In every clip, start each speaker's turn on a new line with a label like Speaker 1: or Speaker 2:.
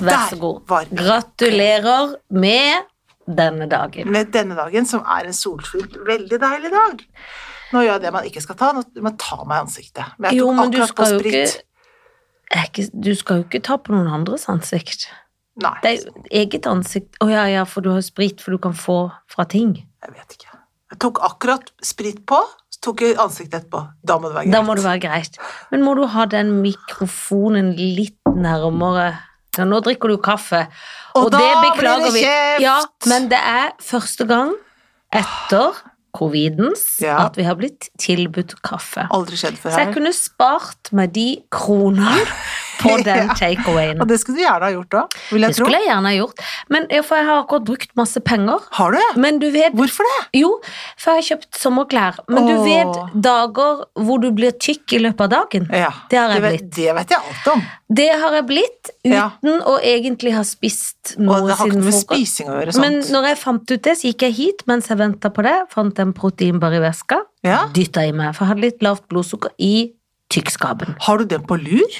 Speaker 1: Vær så
Speaker 2: Der
Speaker 1: god.
Speaker 2: var den.
Speaker 1: Gratulerer med denne dagen.
Speaker 2: Med denne dagen, som er en solfylt, veldig deilig dag. Nå gjør jeg det man ikke skal ta, nå man tar meg i ansiktet. Men jeg
Speaker 1: Jo,
Speaker 2: tok
Speaker 1: men du
Speaker 2: akkurat på
Speaker 1: skal jo ikke,
Speaker 2: sprit.
Speaker 1: er ikke Du skal jo ikke ta på noen andres ansikt.
Speaker 2: Nei,
Speaker 1: Det er jo eget ansikt. Å ja, ja, for du har sprit, for du kan få fra ting.
Speaker 2: jeg vet ikke. Jeg tok akkurat sprit på, så tok jeg ansiktet etterpå. Da må det være greit.
Speaker 1: Da må det være greit. Men må du ha den mikrofonen litt nærmere? Ja, nå drikker du kaffe,
Speaker 2: Og da
Speaker 1: det
Speaker 2: blir
Speaker 1: beklager
Speaker 2: det
Speaker 1: vi.
Speaker 2: kjeft!
Speaker 1: Ja, men det er første gang etter covidens
Speaker 2: Ja.
Speaker 1: at vi har blitt tilbudt kaffe.
Speaker 2: Aldri skjedd før
Speaker 1: Så jeg
Speaker 2: her.
Speaker 1: kunne spart meg de kroner på den
Speaker 2: Ja.
Speaker 1: takeawayen.
Speaker 2: Og det skulle du gjerne ha gjort da, vil
Speaker 1: Det
Speaker 2: jeg tro.
Speaker 1: skulle jeg gjerne ha gjort, men ja, for jeg har akkurat brukt masse penger.
Speaker 2: Har du det?
Speaker 1: Men du vet
Speaker 2: Hvorfor det?
Speaker 1: Jo, for jeg har kjøpt sommerklær. Men du
Speaker 2: Åh.
Speaker 1: vet dager hvor du blir tykk i løpet av dagen.
Speaker 2: Ja,
Speaker 1: Det har jeg
Speaker 2: vet- Det vet jeg alt om.
Speaker 1: Det har jeg blitt uten
Speaker 2: Ja.
Speaker 1: å egentlig ha spist
Speaker 2: Og
Speaker 1: noe
Speaker 2: det har ikke
Speaker 1: siden
Speaker 2: noe med
Speaker 1: frokost.
Speaker 2: spising å gjøre,
Speaker 1: Men
Speaker 2: sånt.
Speaker 1: når jeg fant ut det, så gikk jeg hit mens jeg venta på det. Fant en proteinbar i veska.
Speaker 2: Ja.
Speaker 1: Dytta i meg, for jeg hadde litt lavt blodsukker i tykkskapen.
Speaker 2: Har du den på lur?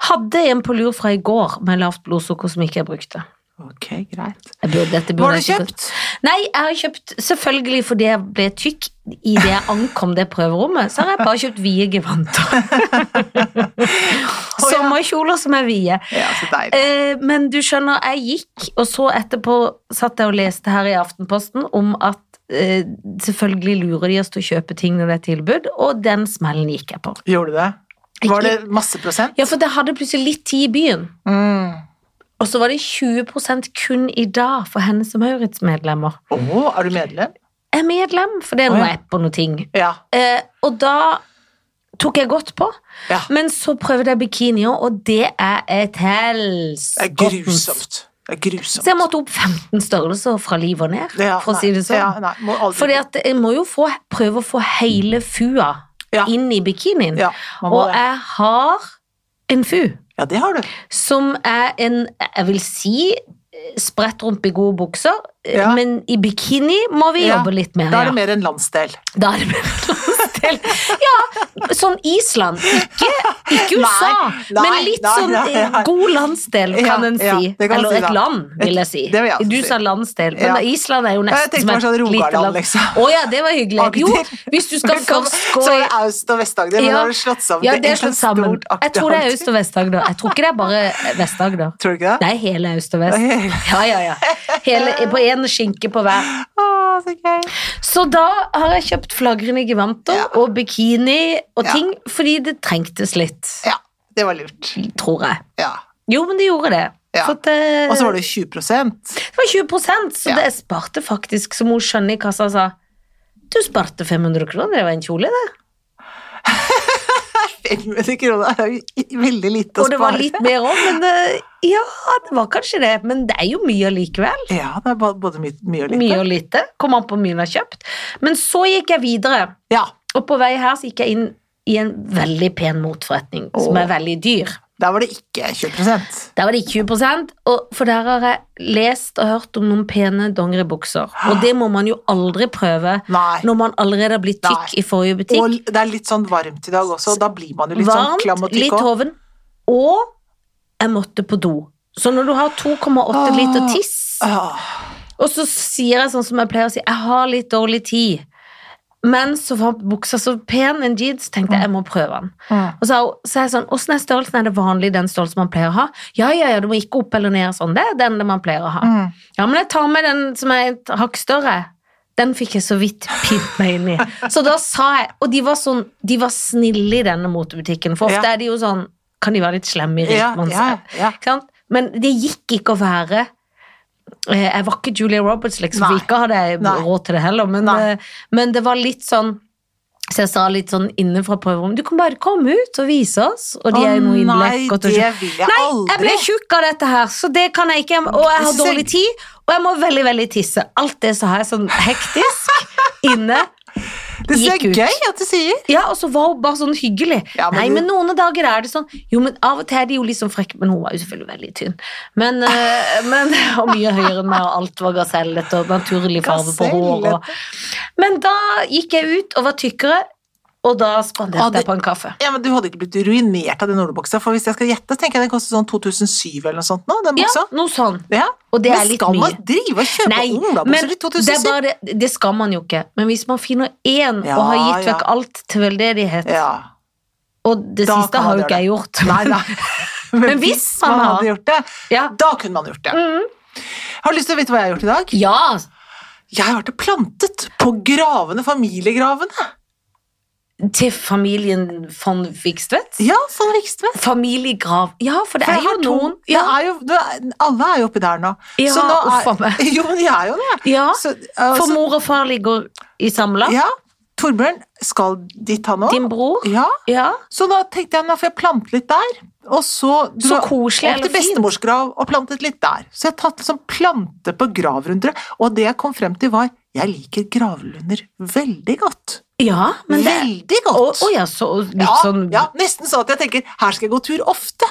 Speaker 1: Hadde en på lur fra i går med lavt blodsukker som ikke jeg brukte.
Speaker 2: Ok, greit.
Speaker 1: Jeg burde, dette
Speaker 2: Hva
Speaker 1: burde
Speaker 2: har du
Speaker 1: jeg ikke-
Speaker 2: kjøpt?
Speaker 1: Nei, jeg har kjøpt selvfølgelig fordi jeg ble tykk idet jeg ankom det prøverommet. Så har jeg bare kjøpt vide gevanter.
Speaker 2: Å, ja.
Speaker 1: Sommerkjoler som er vide.
Speaker 2: Ja, så deilig.
Speaker 1: Eh, Men du skjønner, jeg gikk, og så etterpå satt jeg og leste her i Aftenposten om at eh, selvfølgelig lurer de oss til å kjøpe ting når det er tilbud, og den smellen gikk jeg på.
Speaker 2: Gjorde du det?
Speaker 1: Ikke-
Speaker 2: Var det masse prosent?
Speaker 1: Ja, for det hadde plutselig litt tid i byen,
Speaker 2: Mm.
Speaker 1: og så var det 20 kun i dag for henne som Maurits-medlemmer.
Speaker 2: Å, er du medlem?
Speaker 1: Jeg er medlem, for det er
Speaker 2: Å,
Speaker 1: noe
Speaker 2: ja.
Speaker 1: app og noe ting.
Speaker 2: Ja.
Speaker 1: Eh, og da tok jeg godt på,
Speaker 2: ja.
Speaker 1: men så prøvde jeg bikini også, og det er et helskottens.
Speaker 2: Det er grusomt. Det er grusomt.
Speaker 1: Så jeg måtte opp 15 størrelser fra liv og ned,
Speaker 2: Ja,
Speaker 1: for å si
Speaker 2: nei.
Speaker 1: det
Speaker 2: Ja,
Speaker 1: sånn.
Speaker 2: nei, må aldri...
Speaker 1: Fordi at jeg må jo få, prøve å få hele fua
Speaker 2: Ja.
Speaker 1: inn i bikinien.
Speaker 2: Ja, man må
Speaker 1: og eh,
Speaker 2: det.
Speaker 1: jeg har en fu
Speaker 2: Ja, det har du.
Speaker 1: som er en, jeg vil si, eh, spredt rump i gode bukser, eh,
Speaker 2: Ja.
Speaker 1: men i bikini må vi
Speaker 2: Ja,
Speaker 1: jobbe litt mer.
Speaker 2: Da er
Speaker 1: ja.
Speaker 2: det mer en landsdel.
Speaker 1: Da er det mer landsdel. Ja, sånn Island. Ikke, ikke USA,
Speaker 2: Nei, nei,
Speaker 1: men litt
Speaker 2: nei,
Speaker 1: sånn
Speaker 2: nei,
Speaker 1: eh,
Speaker 2: nei.
Speaker 1: god landsdel,
Speaker 2: Ja,
Speaker 1: kan en
Speaker 2: ja,
Speaker 1: si.
Speaker 2: det kan man
Speaker 1: Eller
Speaker 2: si,
Speaker 1: et
Speaker 2: da.
Speaker 1: land, vil jeg si.
Speaker 2: Det vil jeg også
Speaker 1: du
Speaker 2: si.
Speaker 1: sa landsdel, men
Speaker 2: Ja.
Speaker 1: da, Island er jo
Speaker 2: Ja, jeg
Speaker 1: nesten
Speaker 2: tenkte bare sånn
Speaker 1: lite
Speaker 2: Rogaland,
Speaker 1: land.
Speaker 2: liksom.
Speaker 1: Å ja, det var hyggelig. Jo,
Speaker 2: Agder.
Speaker 1: hvis du skal først gå
Speaker 2: Så
Speaker 1: i
Speaker 2: er det Aust- og Vest-Agder, men nå har det slått sammen.
Speaker 1: Ja,
Speaker 2: til
Speaker 1: det er
Speaker 2: ett
Speaker 1: slått sammen.
Speaker 2: stort
Speaker 1: Jeg tror det er
Speaker 2: Agder.
Speaker 1: Øst- og Vest-Agder. Jeg tror ikke det er bare Vest-Agder.
Speaker 2: Tror du ikke det?
Speaker 1: Det er hele øst og vest.
Speaker 2: Det er hele-
Speaker 1: Ja, ja, ja. Hele, på én skinke på hver.
Speaker 2: Å, så gøy.
Speaker 1: Så da har jeg kjøpt flagrende gevanter
Speaker 2: Ja.
Speaker 1: og bikini og
Speaker 2: Ja.
Speaker 1: ting, fordi det trengtes litt,
Speaker 2: Ja, det var lurt.
Speaker 1: tror jeg.
Speaker 2: Ja.
Speaker 1: Jo, men det gjorde det.
Speaker 2: Ja.
Speaker 1: For at det,
Speaker 2: Og så var det 20
Speaker 1: det var 20 så
Speaker 2: Ja.
Speaker 1: det jeg sparte faktisk, som hun skjønner i kassa sa. Du sparte 500 kroner, det var en kjole, det.
Speaker 2: 500 kroner er jo i- veldig lite å
Speaker 1: Og det var
Speaker 2: spare.
Speaker 1: litt mer òg, men eh, ja, det var kanskje det. Men det er jo mye allikevel.
Speaker 2: Ja, det er ba- både mye, mye og lite.
Speaker 1: Mye og lite. Kom an på mye hun har kjøpt. Men så gikk jeg videre.
Speaker 2: Ja,
Speaker 1: Og på vei her så gikk jeg inn i en veldig pen motforretning, som
Speaker 2: Åh.
Speaker 1: er veldig dyr.
Speaker 2: der var det ikke 20
Speaker 1: Der var det ikke 20 og for der har jeg lest og hørt om noen pene dongeribukser. Og det må man jo aldri prøve
Speaker 2: Nei.
Speaker 1: når man allerede har blitt tykk
Speaker 2: Nei.
Speaker 1: i forrige
Speaker 2: Og
Speaker 1: butikk.
Speaker 2: l- det er litt sånn varmt i dag også, og da blir man jo litt sånn
Speaker 1: Varmt,
Speaker 2: klam og tykk
Speaker 1: litt
Speaker 2: også.
Speaker 1: hoven. Og jeg måtte på do. Så når du har 2,8 liter
Speaker 2: Åh.
Speaker 1: tiss,
Speaker 2: Åh,
Speaker 1: og så sier jeg sånn som jeg pleier å si, jeg har litt dårlig tid. Men så var buksa så pen, en jeans, tenkte jeg jeg må prøve den.
Speaker 2: mm.
Speaker 1: Og så, så er jeg sånn, hvordan er størrelsen? Er det vanlig den størrelsen man pleier å ha? Ja, ja, ja, du må ikke opp eller ned og sånn. Det er den man pleier å ha.
Speaker 2: Mm.
Speaker 1: Ja, men jeg tar med den som er et hakk større. Den fikk jeg så vidt pint meg inn i. Så da sa jeg, og de var, sånn, de var snille i denne motebutikken, for ofte
Speaker 2: Ja.
Speaker 1: er de jo sånn, kan de være litt slemme i
Speaker 2: Ja,
Speaker 1: rikmanns?
Speaker 2: ja, ja.
Speaker 1: Ikke sant? Men det gikk ikke å være eh, Jeg var ikke Julia Roberts, liksom.
Speaker 2: Nei.
Speaker 1: For ikke hadde jeg
Speaker 2: Nei.
Speaker 1: råd til det heller. Men,
Speaker 2: Nei.
Speaker 1: eh, men det var litt sånn Så jeg sa litt sånn innenfra prøverommet Du kan bare komme ut og vise oss. Og de er jo noe
Speaker 2: Å
Speaker 1: innlegg.
Speaker 2: Nei,
Speaker 1: og
Speaker 2: det
Speaker 1: til-
Speaker 2: vil jeg
Speaker 1: Nei, jeg
Speaker 2: aldri.
Speaker 1: ble tjukk av dette her, så det kan jeg ikke. Og jeg har
Speaker 2: Jeg synes jeg-
Speaker 1: dårlig tid, og jeg må veldig, veldig tisse. Alt det så har jeg sånn hektisk inne.
Speaker 2: Det synes jeg
Speaker 1: gikk ut.
Speaker 2: er gøy at du sier.
Speaker 1: Ja, og så var hun bare sånn hyggelig.
Speaker 2: Ja, men
Speaker 1: Nei,
Speaker 2: du-
Speaker 1: men noen dager er det sånn Jo, men av og til er de jo litt sånn frekke, men hun var jo selvfølgelig veldig tynn. Men, eh, men Og mye høyere enn meg, og alt var gasellete og naturlig farge på håret. og- Men da gikk jeg ut og var tykkere. Og da
Speaker 2: Ah,
Speaker 1: spanderte
Speaker 2: det-
Speaker 1: jeg på en kaffe.
Speaker 2: Ja, men Du hadde ikke blitt ruinert av den ordboksa, for hvis jeg skal gjette, så tenker jeg den koster sånn 2007 eller noe sånt nå, den
Speaker 1: Ja,
Speaker 2: buksa.
Speaker 1: noe sånn.
Speaker 2: Ja.
Speaker 1: Og det er
Speaker 2: men
Speaker 1: litt
Speaker 2: skal
Speaker 1: mye.
Speaker 2: man drive og kjøpe
Speaker 1: Nei, men
Speaker 2: olabukser i
Speaker 1: det, er
Speaker 2: 2007?
Speaker 1: bare, det skal man jo ikke. Men hvis man finner én
Speaker 2: Ja,
Speaker 1: og har gitt
Speaker 2: ja.
Speaker 1: vekk alt til veldedighet,
Speaker 2: Ja.
Speaker 1: og det
Speaker 2: Da
Speaker 1: siste
Speaker 2: kan
Speaker 1: har
Speaker 2: man
Speaker 1: jo ikke jeg gjort
Speaker 2: Nei, nei. Men,
Speaker 1: hvis man har-
Speaker 2: hadde gjort det,
Speaker 1: Ja. Mm.
Speaker 2: da kunne man gjort det. Har du lyst til å vite hva jeg har gjort i dag?
Speaker 1: ja!
Speaker 2: Jeg har vært og plantet på gravene, familiegravene.
Speaker 1: Til familien von Vikstvedt?
Speaker 2: Ja, sånn Vikstvedt.
Speaker 1: Familiegrav Ja, for det
Speaker 2: For
Speaker 1: er
Speaker 2: jeg
Speaker 1: jo
Speaker 2: har to-
Speaker 1: noen
Speaker 2: det
Speaker 1: Ja,
Speaker 2: er jo, du er, alle er jo oppi der nå.
Speaker 1: Ja,
Speaker 2: Så nå er,
Speaker 1: uff a meg.
Speaker 2: Jo, men jeg er jo det.
Speaker 1: ja.
Speaker 2: Så, uh,
Speaker 1: For
Speaker 2: så-
Speaker 1: mor og far ligger i samme lag.
Speaker 2: ja, Torbjørn skal dit, han òg.
Speaker 1: Din bror.
Speaker 2: Ja,
Speaker 1: Ja.
Speaker 2: så da tenkte jeg nå får jeg plante litt der. Og så dro
Speaker 1: Så
Speaker 2: jeg
Speaker 1: koselig
Speaker 2: opp
Speaker 1: eller
Speaker 2: til bestemors grav og plantet litt der. Så jeg har tatt liksom plante på gravrunder. Og det jeg kom frem til, var jeg liker gravlunder veldig godt.
Speaker 1: Ja, men det
Speaker 2: veldig
Speaker 1: Å
Speaker 2: godt.
Speaker 1: å ja, så litt
Speaker 2: ja,
Speaker 1: sånn
Speaker 2: ja, nesten sånn at jeg tenker her skal jeg gå tur ofte.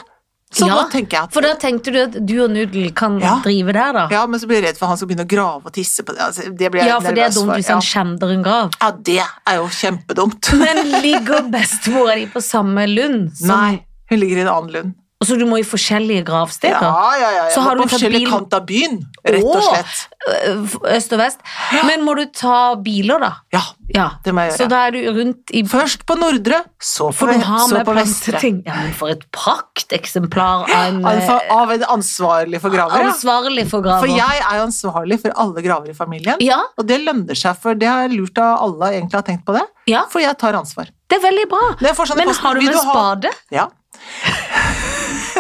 Speaker 2: Så
Speaker 1: Ja,
Speaker 2: nå tenker jeg at
Speaker 1: For da tenkte du at du og Nudel kan
Speaker 2: Ja.
Speaker 1: drive der, da?
Speaker 2: Ja, men så blir jeg redd for han skal begynne å grave og tisse på det. Altså, det blir jeg
Speaker 1: Ja, for det er
Speaker 2: nervøs
Speaker 1: dumt
Speaker 2: for.
Speaker 1: hvis han skjemmer en grav.
Speaker 2: Ja. ja, det er jo kjempedumt.
Speaker 1: Men ligger bestemora di på samme lund? som-
Speaker 2: Nei, hun ligger i en annen lund.
Speaker 1: Og Så du må i forskjellige
Speaker 2: Ja,
Speaker 1: gravsteder?
Speaker 2: ja, ja.
Speaker 1: Så
Speaker 2: ja.
Speaker 1: har
Speaker 2: På
Speaker 1: du tatt
Speaker 2: forskjellig
Speaker 1: bil-
Speaker 2: kant av byen, rett og
Speaker 1: Åh!
Speaker 2: slett.
Speaker 1: Ø- ø- eh, Øst og vest. Men må du ta biler, da?
Speaker 2: Ja,
Speaker 1: Ja.
Speaker 2: det må jeg
Speaker 1: Så
Speaker 2: gjøre.
Speaker 1: da er du rundt i
Speaker 2: Først på nordre, så på,
Speaker 1: For du
Speaker 2: ve-
Speaker 1: har
Speaker 2: så
Speaker 1: med
Speaker 2: på vestre.
Speaker 1: planteting. Ja, men for et prakteksemplar av en
Speaker 2: Av en
Speaker 1: eh,
Speaker 2: fa- Av en ansvarlig for graver, ja.
Speaker 1: ansvarlig for
Speaker 2: For
Speaker 1: graver.
Speaker 2: jeg er jo ansvarlig for alle graver i familien.
Speaker 1: Ja,
Speaker 2: Og det lønner seg, for det har jeg lurt av alle egentlig har tenkt på det.
Speaker 1: Ja.
Speaker 2: For jeg tar ansvar.
Speaker 1: det er veldig bra.
Speaker 2: Når jeg får sånn i
Speaker 1: Men
Speaker 2: posten,
Speaker 1: har du
Speaker 2: vil
Speaker 1: med
Speaker 2: ha-
Speaker 1: spade?
Speaker 2: Ja.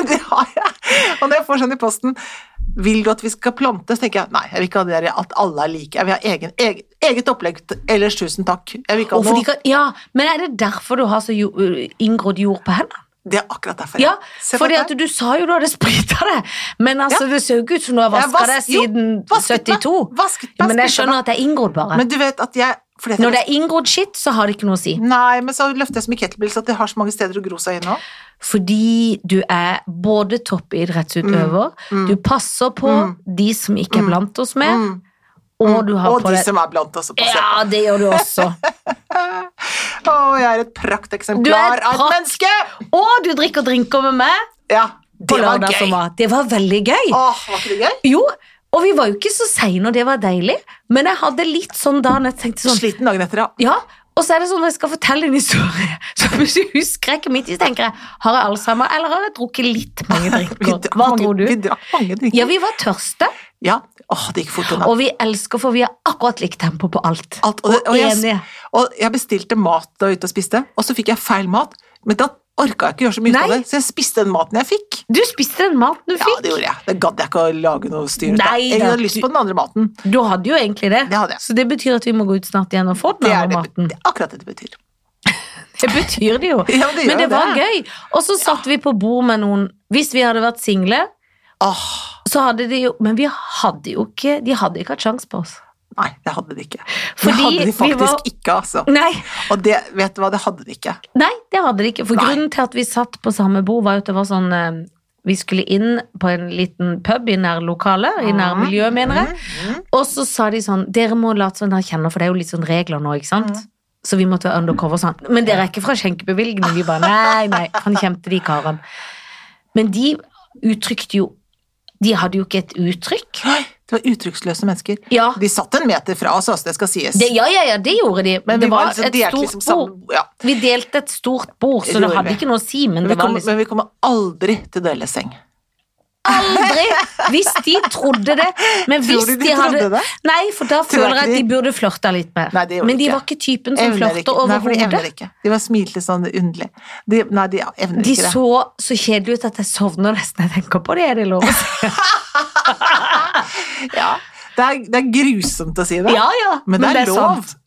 Speaker 2: det har jeg. Og når jeg får sånn i posten vil du at vi skal plante, så tenker jeg nei, jeg vil ikke ha det der at alle er like. Jeg vil ha egen, egen, eget opplegg. Ellers tusen takk. Jeg vil ikke
Speaker 1: Og
Speaker 2: ha
Speaker 1: for de
Speaker 2: noe.
Speaker 1: kan, ja, men er det derfor du har så jo- ø, inngrodd jord på hendene?
Speaker 2: Det er akkurat derfor.
Speaker 1: Ja,
Speaker 2: Se på
Speaker 1: fordi
Speaker 2: deg.
Speaker 1: at du sa jo du hadde sprita det, men altså, det ser jo ikke ut som du har
Speaker 2: Jeg
Speaker 1: vaska deg
Speaker 2: vas- jo,
Speaker 1: siden
Speaker 2: vasket meg,
Speaker 1: 72.
Speaker 2: Vasket meg,
Speaker 1: Ja, men jeg
Speaker 2: spiste
Speaker 1: skjønner at det er inngrodd,
Speaker 2: meg.
Speaker 1: bare.
Speaker 2: Men du vet at jeg fordi at jeg
Speaker 1: Når det er inngrodd skitt, så har det ikke noe å si.
Speaker 2: Nei, men så løfter jeg så mye kettlebells at jeg har så mange steder å gro seg inn nå.
Speaker 1: Fordi du er både toppidrettsutøver,
Speaker 2: Mm.
Speaker 1: du passer på
Speaker 2: Mm.
Speaker 1: de som ikke er
Speaker 2: Mm.
Speaker 1: blant oss med,
Speaker 2: Mm.
Speaker 1: og du har
Speaker 2: Og
Speaker 1: på
Speaker 2: de
Speaker 1: deg
Speaker 2: som er blant oss. og passer på.
Speaker 1: Ja, det gjør du også.
Speaker 2: Å, jeg er et
Speaker 1: Du er
Speaker 2: prakteksemplar
Speaker 1: et
Speaker 2: av et
Speaker 1: prakt-
Speaker 2: menneske!
Speaker 1: Og du drikker drinker med meg
Speaker 2: Ja,
Speaker 1: på
Speaker 2: det var
Speaker 1: lørdag som
Speaker 2: gøy.
Speaker 1: var. Det var veldig gøy.
Speaker 2: Åh, var ikke det gøy?
Speaker 1: Jo, og vi var jo ikke så seine, og det var deilig, men jeg hadde litt sånn da når jeg tenkte sånn
Speaker 2: Sliten dagen etter, ja.
Speaker 1: Ja, og så er det sånn når jeg skal fortelle en historie, så hvis jeg husker jeg ikke midt i, så tenker jeg har jeg alzheimer, eller har jeg drukket litt mange
Speaker 2: Vi
Speaker 1: drinker?
Speaker 2: drakk
Speaker 1: Hva
Speaker 2: mange,
Speaker 1: tror du?
Speaker 2: Vi drakk mange drinker.
Speaker 1: Ja, vi var tørste,
Speaker 2: Ja. Åh, det gikk fort unna.
Speaker 1: og vi elsker, for vi har akkurat likt tempo på alt.
Speaker 2: Alt, og, det- og, jeg,
Speaker 1: Enige.
Speaker 2: og jeg bestilte mat da jeg var ute og spiste, og så fikk jeg feil mat. Men da orka jeg ikke gjøre så mye ut av
Speaker 1: Nei.
Speaker 2: det, så jeg spiste den maten jeg fikk.
Speaker 1: Du spiste den maten du
Speaker 2: Ja,
Speaker 1: fikk.
Speaker 2: det gjorde jeg. Det gadd jeg ikke å lage noe styr ut av.
Speaker 1: Nei
Speaker 2: Jeg
Speaker 1: da,
Speaker 2: hadde lyst på den andre maten.
Speaker 1: Du hadde jo egentlig det.
Speaker 2: Det hadde jeg.
Speaker 1: Så det betyr at vi må gå ut snart igjen og få den
Speaker 2: Det er,
Speaker 1: andre
Speaker 2: det,
Speaker 1: maten.
Speaker 2: det er akkurat det det betyr.
Speaker 1: Det betyr det jo.
Speaker 2: Ja, det gjør
Speaker 1: Men det var
Speaker 2: det.
Speaker 1: gøy. Og så satt vi på bord med noen Hvis vi hadde vært single,
Speaker 2: Åh,
Speaker 1: så hadde de jo Men vi hadde jo ikke De hadde ikke hatt sjanse på oss.
Speaker 2: nei, det hadde de ikke.
Speaker 1: Fordi
Speaker 2: det hadde de
Speaker 1: vi
Speaker 2: faktisk
Speaker 1: var-
Speaker 2: ikke, altså.
Speaker 1: Nei,
Speaker 2: Og det, vet du hva, det hadde de ikke.
Speaker 1: Nei, det hadde det ikke. For
Speaker 2: Nei.
Speaker 1: grunnen til at vi satt på samme bord, var jo at det var sånn eh, Vi skulle inn på en liten pub i nærlokalet, i nærmiljøet, mener jeg.
Speaker 2: Mm,
Speaker 1: Og så sa de sånn Dere må late som dere kjenner, for det er jo litt sånn regler nå, ikke
Speaker 2: Mm.
Speaker 1: sant? Så vi måtte være undercover sånn. Men dere er ikke fra skjenkebevilgning? Vi bare nei, nei. Han kjente de karene. Men de uttrykte jo De hadde jo ikke et uttrykk.
Speaker 2: mm. Nei, det var uttrykksløse mennesker.
Speaker 1: Ja,
Speaker 2: De satt en meter fra oss, altså, det skal sies.
Speaker 1: det, ja, ja, ja, det gjorde de.
Speaker 2: men
Speaker 1: det
Speaker 2: vi var,
Speaker 1: var
Speaker 2: liksom,
Speaker 1: et
Speaker 2: de er
Speaker 1: stort
Speaker 2: liksom sammen,
Speaker 1: bord.
Speaker 2: ja.
Speaker 1: Vi delte et stort bord, så
Speaker 2: Det
Speaker 1: det
Speaker 2: gjorde
Speaker 1: hadde
Speaker 2: vi.
Speaker 1: ikke noe å si, men
Speaker 2: Men
Speaker 1: det
Speaker 2: vi,
Speaker 1: var
Speaker 2: kommer,
Speaker 1: liksom
Speaker 2: men vi kommer aldri til å dele seng.
Speaker 1: Aldri! Hvis de trodde det. Men hvis
Speaker 2: Tror du de
Speaker 1: de, hadde
Speaker 2: trodde det?
Speaker 1: Nei, for da
Speaker 2: Tror
Speaker 1: føler jeg at
Speaker 2: ikke
Speaker 1: de
Speaker 2: de-
Speaker 1: burde flørta litt mer.
Speaker 2: Nei, det gjorde
Speaker 1: Men de
Speaker 2: de
Speaker 1: var ikke typen som flørta
Speaker 2: Nei, for de evner
Speaker 1: overhodet.
Speaker 2: ikke. De var smilte sånn underlig. De, nei, de evner
Speaker 1: De
Speaker 2: ikke det.
Speaker 1: så så kjedelige ut at jeg sovner nesten jeg tenker på det. Er det lov å si?
Speaker 2: Ja. Det, er, det er grusomt å si det,
Speaker 1: Ja, ja.
Speaker 2: men det er, lov.
Speaker 1: sant. sånn.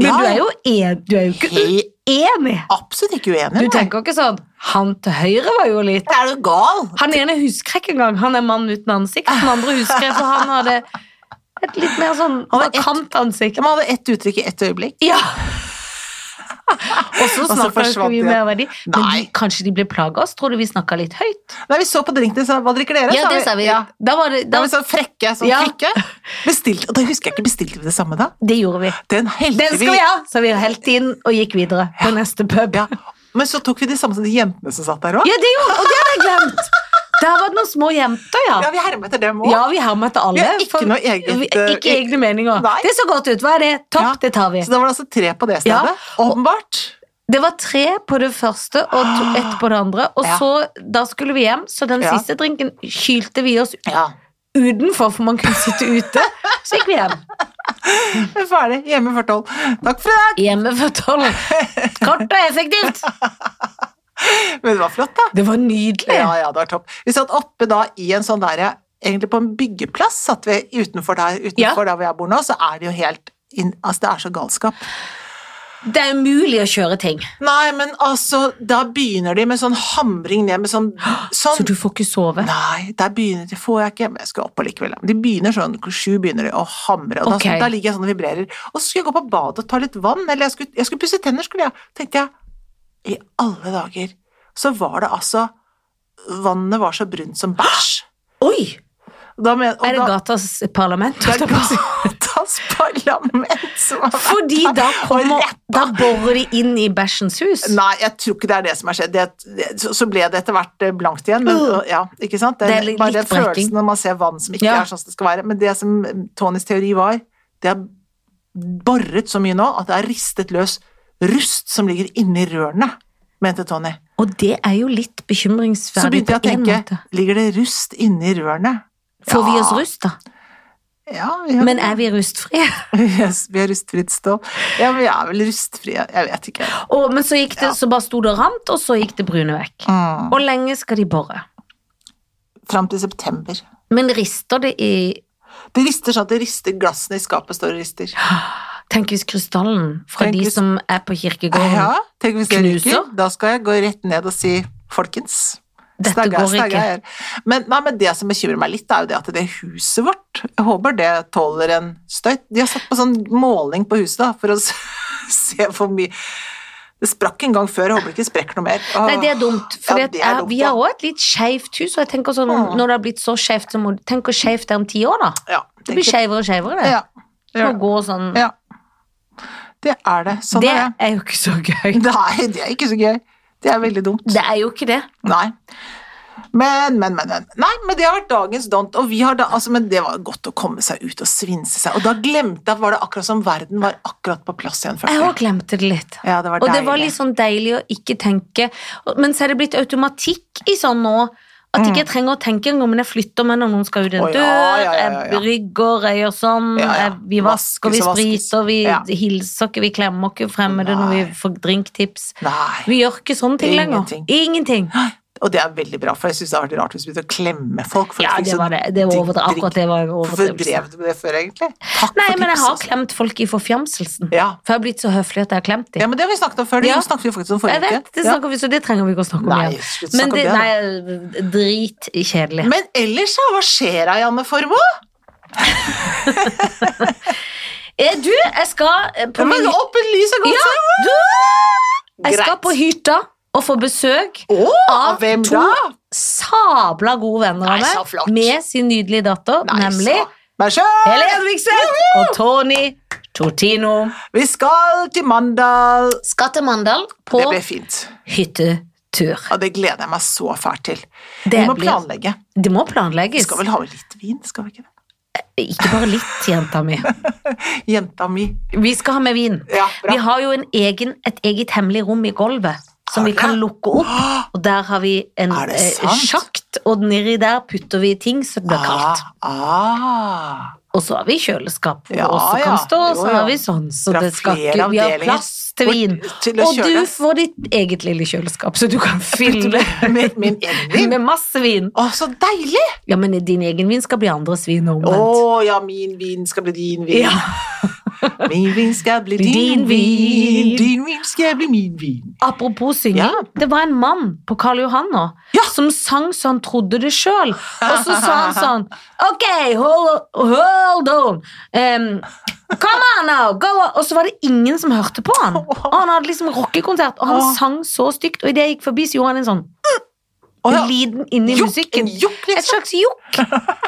Speaker 1: Men
Speaker 2: Ja,
Speaker 1: du er
Speaker 2: ja.
Speaker 1: jo, en, du er jo ikke
Speaker 2: He-
Speaker 1: uenig.
Speaker 2: absolutt ikke uenig.
Speaker 1: Du
Speaker 2: nei.
Speaker 1: tenker ikke sånn Han til høyre var jo litt
Speaker 2: Er du gal?
Speaker 1: Han ene husker jeg ikke engang. Han er mann uten ansikt. Den andre husker jeg, for han hadde et litt mer sånn
Speaker 2: Han var ett-
Speaker 1: markant ansikt.
Speaker 2: Man hadde ett uttrykk i ett øyeblikk.
Speaker 1: Ja. Og så
Speaker 2: så
Speaker 1: snakka
Speaker 2: forsvant
Speaker 1: vi
Speaker 2: de.
Speaker 1: mer over de. Men de,
Speaker 2: Nei.
Speaker 1: kanskje de ble plaga oss? Tror du vi snakka litt høyt?
Speaker 2: Nei, vi så på drinkene, så hva drikker dere?
Speaker 1: Ja, det sa vi.
Speaker 2: Ja.
Speaker 1: Da var det,
Speaker 2: Da
Speaker 1: da,
Speaker 2: var vi sånn frekke, sånn
Speaker 1: Ja.
Speaker 2: kvikke. Bestilte, og da husker jeg ikke, bestilte vi det samme da?
Speaker 1: det gjorde vi.
Speaker 2: Den helte
Speaker 1: Den skal vi ha! Så vi helte inn og gikk videre på neste pub.
Speaker 2: Ja. Men så tok vi de samme som de jentene som satt der òg.
Speaker 1: Ja, det gjorde Og det hadde jeg glemt! Der var det noen små jenter, ja.
Speaker 2: Ja, vi hermet etter dem òg.
Speaker 1: Ja, vi hermer etter alle.
Speaker 2: Vi har ikke
Speaker 1: for-
Speaker 2: noe eget,
Speaker 1: vi- Ikke
Speaker 2: eh,
Speaker 1: egne meninger.
Speaker 2: Nei.
Speaker 1: Det så godt ut. Hva er det? Topp,
Speaker 2: Ja.
Speaker 1: det tar vi.
Speaker 2: Så da var det altså tre på det stedet.
Speaker 1: Ja.
Speaker 2: Åpenbart.
Speaker 1: Det var tre på det første og to, ett på det andre. Og
Speaker 2: Ja.
Speaker 1: så, da skulle vi hjem, så den
Speaker 2: Ja.
Speaker 1: siste drinken kylte vi oss
Speaker 2: Ja.
Speaker 1: utenfor, for man kunne sitte ute. Så gikk vi hjem.
Speaker 2: Vi er Ferdig. Hjemme før tolv. Takk for i dag!
Speaker 1: Hjemme før tolv. Kort og effektivt.
Speaker 2: Men det var flott, da.
Speaker 1: Det var nydelig.
Speaker 2: Ja, ja, det var topp. Vi satt oppe da i en sånn derre Egentlig på en byggeplass satt vi utenfor der, utenfor der hvor jeg bor nå, så er det jo helt inn, Altså, det er så galskap.
Speaker 1: Det er umulig å kjøre ting.
Speaker 2: Nei, men altså, da begynner de med sånn hamring ned med sånn, sånn
Speaker 1: Så du får ikke sove.
Speaker 2: Nei, der begynner de, får jeg ikke, men jeg skal opp allikevel. Men De begynner sånn, klokka sju begynner de å hamre, og da,
Speaker 1: Ok.
Speaker 2: da ligger jeg sånn og vibrerer. Og så skulle jeg gå på badet og ta litt vann, eller jeg skulle, jeg skulle pusse tenner, skulle jeg. Tenkte jeg, i alle dager, så var det altså, vannet var så brunt som bæsj.
Speaker 1: Oi!
Speaker 2: Da men- og
Speaker 1: Er det
Speaker 2: da-
Speaker 1: gatas parlament?
Speaker 2: Det er gatas parlament som har vært
Speaker 1: Fordi da
Speaker 2: der, og
Speaker 1: kommer
Speaker 2: rett-
Speaker 1: Da borer de inn i bæsjens hus.
Speaker 2: Nei, jeg tror ikke det er det som har skjedd. Det, det, så- så ble det etter hvert eh, blankt igjen. Men,
Speaker 1: Uh.
Speaker 2: ja, ikke sant? Det,
Speaker 1: Det er
Speaker 2: er
Speaker 1: litt-
Speaker 2: bare
Speaker 1: litt
Speaker 2: den
Speaker 1: brekking.
Speaker 2: følelsen når man ser vann som ikke
Speaker 1: Ja.
Speaker 2: er sånn som det skal være. Men det som eh, Tonys teori var, det er borret så mye nå at det er ristet løs rust som ligger inni rørene, mente Tony.
Speaker 1: Og det er jo litt
Speaker 2: Så
Speaker 1: bekymringsverdig
Speaker 2: begynte jeg å
Speaker 1: på en
Speaker 2: tenke,
Speaker 1: måte.
Speaker 2: ligger det rust inni rørene?
Speaker 1: Får vi
Speaker 2: Ja.
Speaker 1: oss rust, da?
Speaker 2: Ja, ja.
Speaker 1: Men er vi rustfrie?
Speaker 2: Yes, vi har rustfritt stål. Ja, men vi er vel rustfrie, jeg vet ikke.
Speaker 1: Og, men så, gikk det, så bare sto det og rant, og så gikk det brune vekk.
Speaker 2: Mm.
Speaker 1: Hvor lenge skal de bore?
Speaker 2: Fram til september.
Speaker 1: Men rister det i
Speaker 2: Det rister sånn at det rister glassene i skapet står og rister.
Speaker 1: Tenk hvis krystallen fra
Speaker 2: Tenk
Speaker 1: de
Speaker 2: hvis-
Speaker 1: som er på kirkegården
Speaker 2: Ja, tenk hvis jeg
Speaker 1: Knuser.
Speaker 2: ryker. Da skal jeg gå rett ned og si folkens.
Speaker 1: Dette går ikke.
Speaker 2: her. Men, nei, men det som bekymrer meg litt, er jo det at det huset vårt Jeg håper det tåler en støyt. De har satt på sånn måling på huset da, for å s- se hvor mye Det sprakk en gang før, jeg håper det ikke sprekker noe mer. Åh.
Speaker 1: Nei, det er dumt. For
Speaker 2: Ja, det er dumt,
Speaker 1: vi
Speaker 2: ja.
Speaker 1: har òg et litt skeivt hus, og jeg tenker sånn,
Speaker 2: Mm.
Speaker 1: når det har blitt så skeivt, så må du Tenk hvor skeivt det er om ti år, da.
Speaker 2: ja,
Speaker 1: Det blir
Speaker 2: tenker-
Speaker 1: skeivere og skeivere, det.
Speaker 2: Ja,
Speaker 1: Det
Speaker 2: ja,
Speaker 1: må gå sånn
Speaker 2: ja. Det er det. Sånn
Speaker 1: Det
Speaker 2: er det.
Speaker 1: er jo ikke så gøy.
Speaker 2: Nei, det er ikke så gøy. Det er veldig dumt.
Speaker 1: Det er jo ikke det.
Speaker 2: Nei. Men, men, men, men. Nei, men det har vært dagens don't. Og vi har da, altså, men det var godt å komme seg ut og svinse seg. Og da glemte jeg at var det akkurat som verden var akkurat på plass igjen.
Speaker 1: Jeg
Speaker 2: følte
Speaker 1: òg glemte det litt.
Speaker 2: Ja, det var
Speaker 1: Og
Speaker 2: deilig.
Speaker 1: det var litt sånn deilig å ikke tenke. Og- Men så er det blitt automatikk i sånn nå. At ikke jeg trenger å tenke engang, men jeg flytter meg når noen skal ut en
Speaker 2: Å,
Speaker 1: dør.
Speaker 2: Mm. ja, ja, ja, ja.
Speaker 1: Jeg rygger, jeg gjør sånn.
Speaker 2: Ja, ja.
Speaker 1: Jeg, vi vasker, vi
Speaker 2: Vaskes og vaskes.
Speaker 1: spriter, vi
Speaker 2: Ja.
Speaker 1: hilser ikke, vi klemmer ikke fremmede når vi
Speaker 2: Nei.
Speaker 1: får drinktips.
Speaker 2: Nei.
Speaker 1: Vi gjør ikke sånne ting lenger.
Speaker 2: Ingenting.
Speaker 1: Ingenting.
Speaker 2: Og det er veldig bra, for jeg syns det har vært rart hvis vi begynte å klemme folk. For
Speaker 1: Ja,
Speaker 2: jeg fikk
Speaker 1: det
Speaker 2: så
Speaker 1: var det. Det var
Speaker 2: digg-
Speaker 1: overdre- Akkurat det var en
Speaker 2: digg- Hvorfor
Speaker 1: overdrivelse.
Speaker 2: drev du med det før, egentlig? Takk
Speaker 1: Nei, men jeg
Speaker 2: for tipset,
Speaker 1: har
Speaker 2: altså.
Speaker 1: klemt folk i forfjamselsen.
Speaker 2: Ja.
Speaker 1: For jeg har blitt så høflig at jeg har klemt dem.
Speaker 2: ja, men det har vi snakket om før. Det
Speaker 1: Ja.
Speaker 2: snakket vi faktisk
Speaker 1: Jeg
Speaker 2: om forrige
Speaker 1: vet, det
Speaker 2: Ja.
Speaker 1: snakker vi, så det trenger vi ikke å snakke om
Speaker 2: Nei,
Speaker 1: igjen.
Speaker 2: slutt å
Speaker 1: Men
Speaker 2: snakke om
Speaker 1: det,
Speaker 2: det. da.
Speaker 1: nei, dritkjedelig.
Speaker 2: Men ellers, ja, hva skjer da, Janne Formoe?
Speaker 1: Eh, Du, jeg skal eh, på min...
Speaker 2: Men Opp et lys og gå
Speaker 1: Ja,
Speaker 2: seg!
Speaker 1: du! Jeg skal
Speaker 2: Greit.
Speaker 1: på hytta og få besøk
Speaker 2: Å,
Speaker 1: av
Speaker 2: hvem
Speaker 1: to
Speaker 2: da?
Speaker 1: sabla gode venner av
Speaker 2: Nei, så flott.
Speaker 1: meg med sin nydelige datter,
Speaker 2: Nei,
Speaker 1: nemlig
Speaker 2: så. Meg sjøl!
Speaker 1: Helen Hedvigsen og Tony Tortino.
Speaker 2: Vi skal til Mandal.
Speaker 1: Skal til Mandal på
Speaker 2: Det blir fint.
Speaker 1: hyttetur.
Speaker 2: Og det gleder jeg meg så fælt til.
Speaker 1: Det
Speaker 2: vi må
Speaker 1: blir-
Speaker 2: planlegge.
Speaker 1: Det må
Speaker 2: Vi
Speaker 1: planlegges.
Speaker 2: skal vel ha litt vin, skal vi ikke det?
Speaker 1: Ikke bare litt, jenta mi.
Speaker 2: Jenta mi.
Speaker 1: Vi skal ha med vin.
Speaker 2: Ja, bra.
Speaker 1: Vi har jo en egen, et eget hemmelig rom i gulvet som
Speaker 2: Har
Speaker 1: vi
Speaker 2: dere?
Speaker 1: kan lukke opp. Og der har vi en
Speaker 2: Er det
Speaker 1: eh,
Speaker 2: sant?
Speaker 1: sjakt, og nedi der putter vi ting så det blir kaldt.
Speaker 2: Ah, ah.
Speaker 1: Og så har vi kjøleskap hvor
Speaker 2: Ja,
Speaker 1: det også
Speaker 2: ja.
Speaker 1: kan stå, og
Speaker 2: Jo,
Speaker 1: så
Speaker 2: ja.
Speaker 1: har vi sånn. Så
Speaker 2: Det er
Speaker 1: det skal
Speaker 2: flere
Speaker 1: ikke, vi har
Speaker 2: avdelinger
Speaker 1: plass til
Speaker 2: hvor-
Speaker 1: vin.
Speaker 2: til å
Speaker 1: og
Speaker 2: kjøle.
Speaker 1: du får ditt eget lille kjøleskap, så du kan fylle
Speaker 2: Med min egen vin.
Speaker 1: med masse vin.
Speaker 2: Å, så deilig!
Speaker 1: Ja, men din egen vin skal bli andres vin og
Speaker 2: Å
Speaker 1: omvendt.
Speaker 2: ja, min vin skal bli din vin.
Speaker 1: Ja.
Speaker 2: Min vin skal bli din,
Speaker 1: Din vin.
Speaker 2: vin. Din vin skal bli min vin.
Speaker 1: Apropos synging,
Speaker 2: Ja.
Speaker 1: det var en mann på Karl Johan nå
Speaker 2: Ja.
Speaker 1: som sang så han trodde det sjøl. Og så sa han sånn Ok, hold, hold on. Um, Come on now, go on! Og så var det ingen som hørte på han. Og han hadde liksom rockekonsert, og han
Speaker 2: Åh.
Speaker 1: sang så stygt. Og idet jeg gikk forbi, så gjorde han en sånn
Speaker 2: Å ja.
Speaker 1: lyden inni
Speaker 2: Jokk,
Speaker 1: musikken.
Speaker 2: en jokk, liksom.
Speaker 1: Et slags jokk.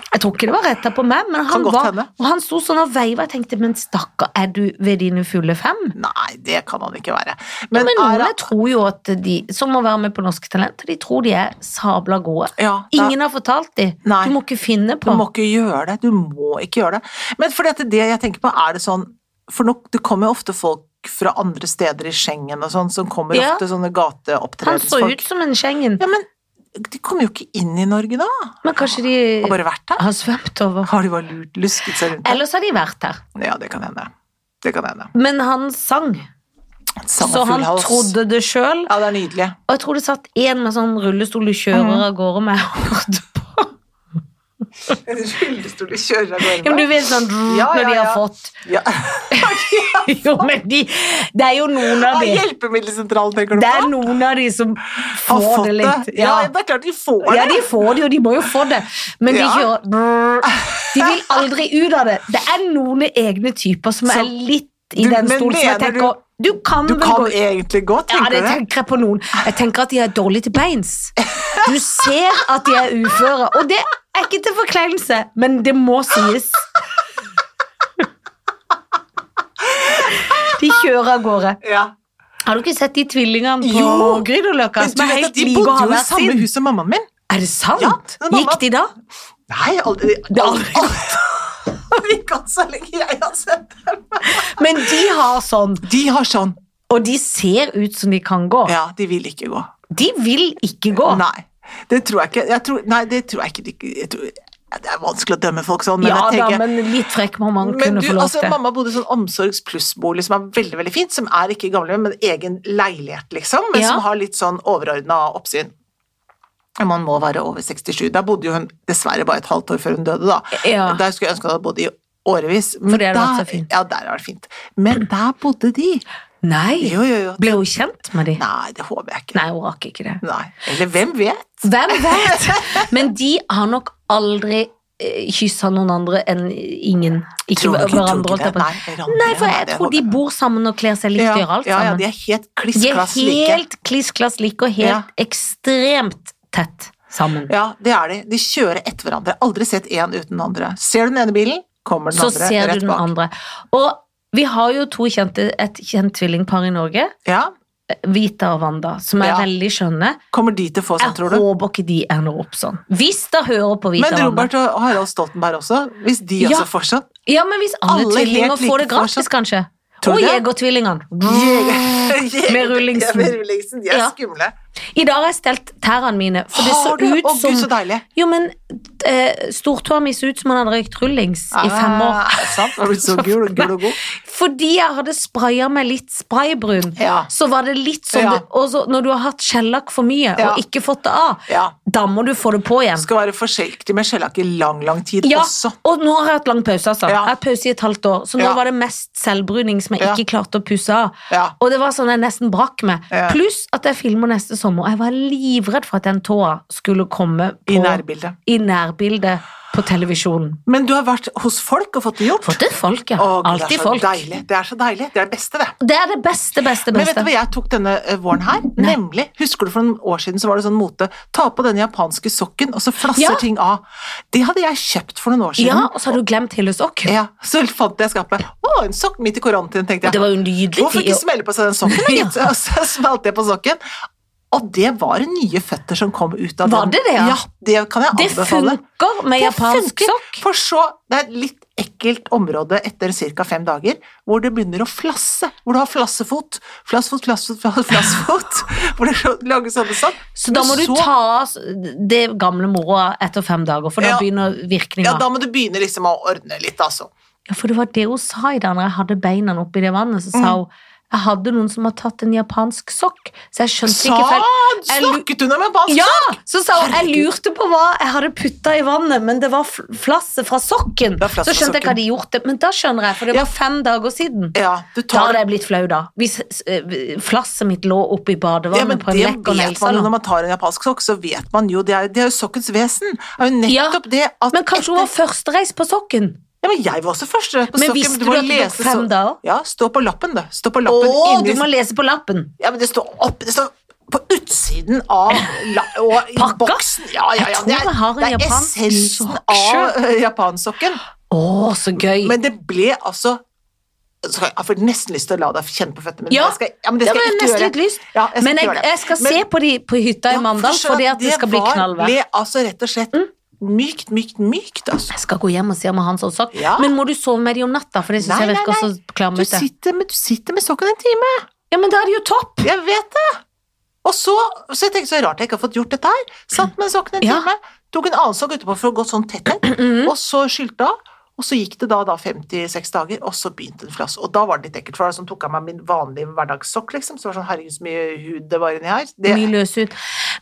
Speaker 1: Jeg tror ikke det var retta på meg, men
Speaker 2: Kan
Speaker 1: han,
Speaker 2: godt
Speaker 1: var,
Speaker 2: hende.
Speaker 1: og han sto sånn og veiva. Jeg tenkte, men stakkar, er du ved dine fulle fem?
Speaker 2: Nei, det kan han ikke være.
Speaker 1: Men,
Speaker 2: er
Speaker 1: noen
Speaker 2: han-
Speaker 1: jeg tror jo at de som må være med på Norske Talenter, de tror de er sabla gode.
Speaker 2: ja, da-
Speaker 1: Ingen har fortalt dem.
Speaker 2: Nei.
Speaker 1: Du må ikke finne
Speaker 2: Du
Speaker 1: på.
Speaker 2: må ikke gjøre det. Du må ikke gjøre det. Men fordi at det jeg tenker på, er det sånn For nå, det kommer jo ofte folk fra andre steder i Schengen og sånn, som kommer
Speaker 1: Ja.
Speaker 2: ofte
Speaker 1: Han
Speaker 2: sånne
Speaker 1: så ut
Speaker 2: gateopptredensfolk.
Speaker 1: som en Schengen,
Speaker 2: Ja, men de kommer jo ikke inn i Norge da.
Speaker 1: men kanskje de
Speaker 2: Har bare vært her.
Speaker 1: har svømt over.
Speaker 2: Har de bare lurt, lusket seg rundt her?
Speaker 1: Ellers har de vært her.
Speaker 2: Ja, det kan hende. Det kan hende.
Speaker 1: Men han sang,
Speaker 2: Sang og
Speaker 1: så
Speaker 2: full
Speaker 1: han
Speaker 2: hals.
Speaker 1: trodde det sjøl.
Speaker 2: Ja, det er nydelig.
Speaker 1: Og jeg tror det satt en med sånn rullestol du
Speaker 2: Mhm.
Speaker 1: kjører av gårde med og hørte på.
Speaker 2: En rullestol kjører av
Speaker 1: Ja, men du vet sånn
Speaker 2: Ja,
Speaker 1: når
Speaker 2: ja,
Speaker 1: de har
Speaker 2: ja.
Speaker 1: fått
Speaker 2: Ja.
Speaker 1: Jo, men de Det er jo noen av
Speaker 2: Ah,
Speaker 1: de
Speaker 2: Hjelpemiddelsentralen, tenker du
Speaker 1: Det
Speaker 2: på?
Speaker 1: er noen av de som
Speaker 2: Har
Speaker 1: får
Speaker 2: fått
Speaker 1: det litt.
Speaker 2: det. Ja, det er klart de får det.
Speaker 1: Ja, de får det jo, de må jo få det. Men de
Speaker 2: Ja.
Speaker 1: kjører brrr. De vil aldri ut av det. Det er noen egne typer som
Speaker 2: Så-
Speaker 1: er litt i
Speaker 2: Du-
Speaker 1: den
Speaker 2: men
Speaker 1: stolen som jeg
Speaker 2: mener du-
Speaker 1: tenker Du kan
Speaker 2: Du
Speaker 1: vel
Speaker 2: kan
Speaker 1: gå ut.
Speaker 2: egentlig gå,
Speaker 1: Ja,
Speaker 2: tenker
Speaker 1: det
Speaker 2: du det?
Speaker 1: tenker jeg på noen. Jeg tenker at de er dårlige til beins. Du ser at de er uføre, og det er ikke til forkleinelse, men det må sies. De kjører av gårde.
Speaker 2: Ja.
Speaker 1: Har du ikke sett de tvillingene på
Speaker 2: Jo.
Speaker 1: Grünerløkka?
Speaker 2: Men
Speaker 1: som
Speaker 2: du
Speaker 1: er
Speaker 2: vet at
Speaker 1: helt
Speaker 2: de
Speaker 1: like og
Speaker 2: bodde
Speaker 1: har
Speaker 2: jo i
Speaker 1: hver
Speaker 2: samme
Speaker 1: sin?
Speaker 2: hus som mammaen min.
Speaker 1: Er det sant?
Speaker 2: Ja, men mamma-
Speaker 1: Gikk de da?
Speaker 2: Nei, aldri.
Speaker 1: Det har aldri
Speaker 2: gått. Aldri gått så lenge jeg har sett dem.
Speaker 1: Men de har sånn,
Speaker 2: De har sånn.
Speaker 1: og de ser ut som de kan gå.
Speaker 2: Ja, de vil ikke gå.
Speaker 1: De vil ikke gå.
Speaker 2: Nei, det tror jeg ikke. Jeg tror, nei, det tror jeg ikke. de- Jeg tror, ja, det er vanskelig å dømme folk sånn, men
Speaker 1: ja
Speaker 2: jeg tenker...
Speaker 1: da, men litt frekk må man
Speaker 2: Men
Speaker 1: kunne
Speaker 2: du,
Speaker 1: få lov
Speaker 2: altså,
Speaker 1: til.
Speaker 2: mamma bodde i sånn omsorgs pluss-bolig som er veldig veldig fint, som er ikke i gamlehjem, men egen leilighet, liksom, men
Speaker 1: Ja.
Speaker 2: som har litt sånn overordna oppsyn. Man må være over 67. Der bodde jo hun dessverre bare et halvt år før hun døde, da.
Speaker 1: Ja.
Speaker 2: Der skulle jeg ønske hun hadde bodd i årevis.
Speaker 1: For det hadde
Speaker 2: der,
Speaker 1: vært så fint.
Speaker 2: Ja, der hadde vært fint. Men der bodde de.
Speaker 1: Nei,
Speaker 2: Jo, jo, jo.
Speaker 1: ble hun kjent med de?
Speaker 2: Nei, det håper jeg ikke.
Speaker 1: Nei, hun rakk ikke det.
Speaker 2: Nei. Eller hvem vet?
Speaker 1: Hvem vet? Men de har nok aldri eh, kyssa noen andre enn ingen. Ikke
Speaker 2: Tror du ikke- tror du
Speaker 1: hverandre.
Speaker 2: ikke
Speaker 1: holdt jeg
Speaker 2: det?
Speaker 1: på.
Speaker 2: Nei, hverandre,
Speaker 1: Nei, for
Speaker 2: nei,
Speaker 1: jeg
Speaker 2: det
Speaker 1: tror de
Speaker 2: håper jeg.
Speaker 1: bor sammen og kler seg likt og gjør alt
Speaker 2: ja, ja,
Speaker 1: sammen.
Speaker 2: de er helt kliss
Speaker 1: De er
Speaker 2: klass like.
Speaker 1: helt kliss klass like og
Speaker 2: Ja.
Speaker 1: helt ekstremt tett sammen.
Speaker 2: Ja, det er de. De kjører etter hverandre. Aldri sett én uten den andre. Ser du den ene bilen, kommer den
Speaker 1: så
Speaker 2: andre
Speaker 1: ser du
Speaker 2: rett
Speaker 1: den
Speaker 2: bak.
Speaker 1: andre. Og vi har jo to kjente, et kjent tvillingpar i Norge,
Speaker 2: Ja,
Speaker 1: Vita og Wanda, som er
Speaker 2: Ja.
Speaker 1: veldig skjønne.
Speaker 2: Kommer de til å få sånn,
Speaker 1: Jeg
Speaker 2: tror du?
Speaker 1: håper ikke de ender opp sånn. Hvis de hører på Vita
Speaker 2: Men
Speaker 1: og Wanda.
Speaker 2: Robert og Harald Stoltenberg også? Hvis de
Speaker 1: Ja.
Speaker 2: også får sånn?
Speaker 1: Ja, men hvis alle,
Speaker 2: Alle
Speaker 1: tvillinger
Speaker 2: helt like
Speaker 1: får det gratis,
Speaker 2: fortsatt.
Speaker 1: kanskje.
Speaker 2: Tror
Speaker 1: Og
Speaker 2: du det?
Speaker 1: Jegertvillingene. Med rullingsen.
Speaker 2: Ja, med rullingsen. De er
Speaker 1: Ja.
Speaker 2: skumle.
Speaker 1: I dag har jeg stelt tærne mine, for det så
Speaker 2: Har du?
Speaker 1: ut
Speaker 2: Å,
Speaker 1: som
Speaker 2: gud, så deilig.
Speaker 1: Jo, men eh, stortåa mi så ut som han hadde røykt rullings i fem år.
Speaker 2: Ah, er det sant? Har du blitt så gul, gul og god?
Speaker 1: Fordi jeg hadde spraya meg litt spraybrun,
Speaker 2: Ja.
Speaker 1: så var det litt sånn
Speaker 2: Ja.
Speaker 1: det, Og så når du har hatt skjellakk for mye
Speaker 2: Ja.
Speaker 1: og ikke fått det av,
Speaker 2: Ja.
Speaker 1: da må du få det på
Speaker 2: Du
Speaker 1: igjen.
Speaker 2: skal være forsiktig med skjellakk i lang, lang tid
Speaker 1: Ja,
Speaker 2: også.
Speaker 1: og nå har jeg hatt lang pause, altså.
Speaker 2: Ja.
Speaker 1: Jeg har hatt pause i et halvt år, så nå
Speaker 2: Ja.
Speaker 1: var det mest selvbruning som jeg
Speaker 2: Ja.
Speaker 1: ikke klarte å pusse av.
Speaker 2: Ja.
Speaker 1: Og det var sånn jeg nesten brakk meg.
Speaker 2: Ja.
Speaker 1: Pluss at jeg filmer neste sommer. Jeg var livredd for at den tåa skulle komme på,
Speaker 2: I nærbildet.
Speaker 1: i nærbildet på televisjonen.
Speaker 2: Men du har vært hos folk og fått det gjort?
Speaker 1: For det er folk, ja.
Speaker 2: Å, Gud, det
Speaker 1: Alltid
Speaker 2: er så
Speaker 1: folk.
Speaker 2: deilig. Det er så deilig. Det er det beste, det.
Speaker 1: Det er det beste, beste,
Speaker 2: Men vet
Speaker 1: beste.
Speaker 2: du hva jeg tok denne eh, våren her? Nemlig, husker du for noen år siden så var det sånn mote, ta på den japanske sokken, og så flasser
Speaker 1: Ja.
Speaker 2: ting av. Det hadde jeg kjøpt for noen år
Speaker 1: Ja,
Speaker 2: siden.
Speaker 1: og så har du glemt Hilde Sokk.
Speaker 2: Ja, så fant jeg skapet. Å, en sokk midt i koronatiden, tenkte
Speaker 1: Og det
Speaker 2: jeg.
Speaker 1: var jo en nydelig
Speaker 2: Hvorfor
Speaker 1: tid.
Speaker 2: ikke smelle på seg den sokken? da,
Speaker 1: Ja.
Speaker 2: gitt? Og så smelte jeg på sokken. Og det var nye føtter som kom ut av
Speaker 1: Var
Speaker 2: den.
Speaker 1: det det, ja?
Speaker 2: Ja, det kan jeg
Speaker 1: Det
Speaker 2: anbefale.
Speaker 1: funker med
Speaker 2: Det
Speaker 1: japansk
Speaker 2: funker,
Speaker 1: sokk.
Speaker 2: For så, det er et litt ekkelt område etter ca. fem dager, hvor det begynner å flasse. Hvor du har flassefot. Flassfot, flassfot, flass- flassfot. hvor det så- lager sånne sånn.
Speaker 1: Så da må du ta av det gamle moroa etter fem dager, for da
Speaker 2: Ja.
Speaker 1: begynner virkninga.
Speaker 2: Ja,
Speaker 1: Ja,
Speaker 2: da må du begynne liksom å ordne litt, altså.
Speaker 1: for det var det hun sa i dag når jeg hadde beina oppi det vannet, så sa
Speaker 2: Mm.
Speaker 1: hun jeg hadde noen som har tatt en japansk sokk, så jeg skjønte
Speaker 2: Sa
Speaker 1: ikke feil. Jeg lu-
Speaker 2: Sånn! Snakket hun om en bansk
Speaker 1: Ja!
Speaker 2: sokk?
Speaker 1: Så sa hun jeg lurte på hva jeg hadde putta i vannet, men det var fl- flasset fra sokken.
Speaker 2: Det var flasset
Speaker 1: Så skjønte jeg
Speaker 2: fra
Speaker 1: hva de gjorde, men da skjønner jeg, for det
Speaker 2: Ja.
Speaker 1: var fem dager siden.
Speaker 2: Ja, du
Speaker 1: Da
Speaker 2: tar
Speaker 1: hadde
Speaker 2: det.
Speaker 1: jeg blitt flau, da. Hvis eh, flasset mitt lå oppi
Speaker 2: Ja, men
Speaker 1: badevannet på en
Speaker 2: det
Speaker 1: lekker
Speaker 2: vet man jo
Speaker 1: neglesalong.
Speaker 2: når man tar en japansk sokk, så vet man jo Det er, det er jo sokkens vesen. Det er jo nettopp det at
Speaker 1: Men kanskje hun har førstereis på sokken?
Speaker 2: Ja, men jeg var også førsterett på
Speaker 1: Men
Speaker 2: sokken.
Speaker 1: visste
Speaker 2: må
Speaker 1: du at det tok
Speaker 2: lese
Speaker 1: fem
Speaker 2: så-
Speaker 1: dager?
Speaker 2: Ja, stå på lappen, det. Stå på
Speaker 1: Å,
Speaker 2: lappen inni
Speaker 1: du må lese på lappen!
Speaker 2: Ja, men det står opp Det står på utsiden av la, og i
Speaker 1: Pakka?
Speaker 2: boksen. Ja, ja, ja.
Speaker 1: Jeg tror
Speaker 2: Det er,
Speaker 1: jeg har en
Speaker 2: det er
Speaker 1: japansk
Speaker 2: essensen
Speaker 1: sokk
Speaker 2: av
Speaker 1: selv.
Speaker 2: eh, japansokken.
Speaker 1: Å, så gøy!
Speaker 2: Men det ble altså så har Jeg får nesten lyst til å la deg kjenne på føttene, men
Speaker 1: Ja,
Speaker 2: det skal, ja, men det skal
Speaker 1: var
Speaker 2: jeg ikke
Speaker 1: nesten
Speaker 2: gjøre.
Speaker 1: litt lyst.
Speaker 2: Ja, jeg skal
Speaker 1: men
Speaker 2: ikke
Speaker 1: jeg,
Speaker 2: gjøre det.
Speaker 1: jeg skal
Speaker 2: Men-
Speaker 1: se på de på hytta i
Speaker 2: Ja,
Speaker 1: Mandal,
Speaker 2: forstå
Speaker 1: fordi
Speaker 2: at
Speaker 1: at det skal bli
Speaker 2: var-
Speaker 1: knallvær. Mm.
Speaker 2: ble altså rett og slett mykt, mykt, mykt, altså.
Speaker 1: Jeg skal gå hjem og se om jeg har en sånn sokk.
Speaker 2: Ja.
Speaker 1: Men må du sove med de om natta? For det synes
Speaker 2: Nei,
Speaker 1: jeg virker
Speaker 2: nei, nei.
Speaker 1: så klammete.
Speaker 2: Du sitter, med, du sitter med sokken en time.
Speaker 1: Ja, men da er det jo topp!
Speaker 2: Jeg vet det! Og så, så jeg tenkte så rart jeg ikke har fått gjort dette her. Satt med sokken en
Speaker 1: Ja. Mm.
Speaker 2: time, tok en annen sokk utenpå for å gå sånn tett her, og så skylte av. Og så gikk det da, da 56 dager, og så begynte en flass. Og da var det litt ekkelt, for det var sånn, tok jeg meg min vanlige hverdagssokk, liksom. Så var det sånn, herregud, så mye hud det var inni her. Det,
Speaker 1: Mye løs ut.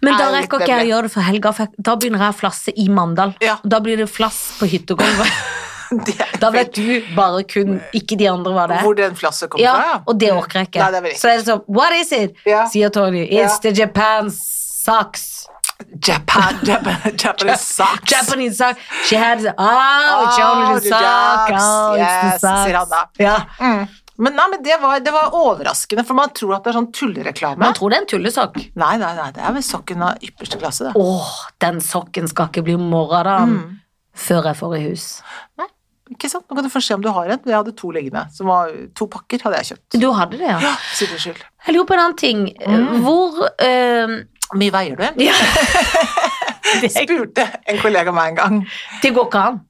Speaker 1: Men da
Speaker 2: Er litt
Speaker 1: rekker ikke jeg å
Speaker 2: demmelig.
Speaker 1: gjøre det for helga, for jeg- da begynner jeg å flasse i Mandal.
Speaker 2: Ja.
Speaker 1: Da blir det flass på hyttegulvet.
Speaker 2: det er
Speaker 1: Da vet du bare kun, ikke de andre, hva det
Speaker 2: Hvor
Speaker 1: er.
Speaker 2: den flasset kom fra,
Speaker 1: Ja, og det orker jeg ikke.
Speaker 2: Nei, det er vel
Speaker 1: så er det sånn What is it?
Speaker 2: Ja.
Speaker 1: sier Tony. It's
Speaker 2: Ja.
Speaker 1: the Japan socks.
Speaker 2: Japan, Japan, Japanese socks.
Speaker 1: Japanese socks. She had the, Oh, it's
Speaker 2: Oh,
Speaker 1: only
Speaker 2: the
Speaker 1: the sock.
Speaker 2: socks.
Speaker 1: Oh,
Speaker 2: Yes,
Speaker 1: it's the
Speaker 2: sier han da.
Speaker 1: socks. Ja.
Speaker 2: Mm. Men, nei, men det, var, det var overraskende, for man tror at det er sånn tullereklame.
Speaker 1: Man tror det er en tullesokk.
Speaker 2: Nei, nei, nei, det er vel sokken av ypperste klasse, det.
Speaker 1: Åh, den sokken skal ikke bli morra da
Speaker 2: Mm.
Speaker 1: Før jeg får i hus
Speaker 2: Ikke sant? Nå kan du først se om du har en. Jeg hadde to liggende. Som var to pakker hadde jeg kjøpt.
Speaker 1: Du hadde det, ja
Speaker 2: Ja, Sikkerhets skyld.
Speaker 1: Jeg lurer på en annen ting
Speaker 2: Mm.
Speaker 1: Hvor eh,
Speaker 2: Hvor mye veier du
Speaker 1: ja.
Speaker 2: igjen?
Speaker 1: det,
Speaker 2: Spurte en kollega meg en gang.
Speaker 1: det går ikke an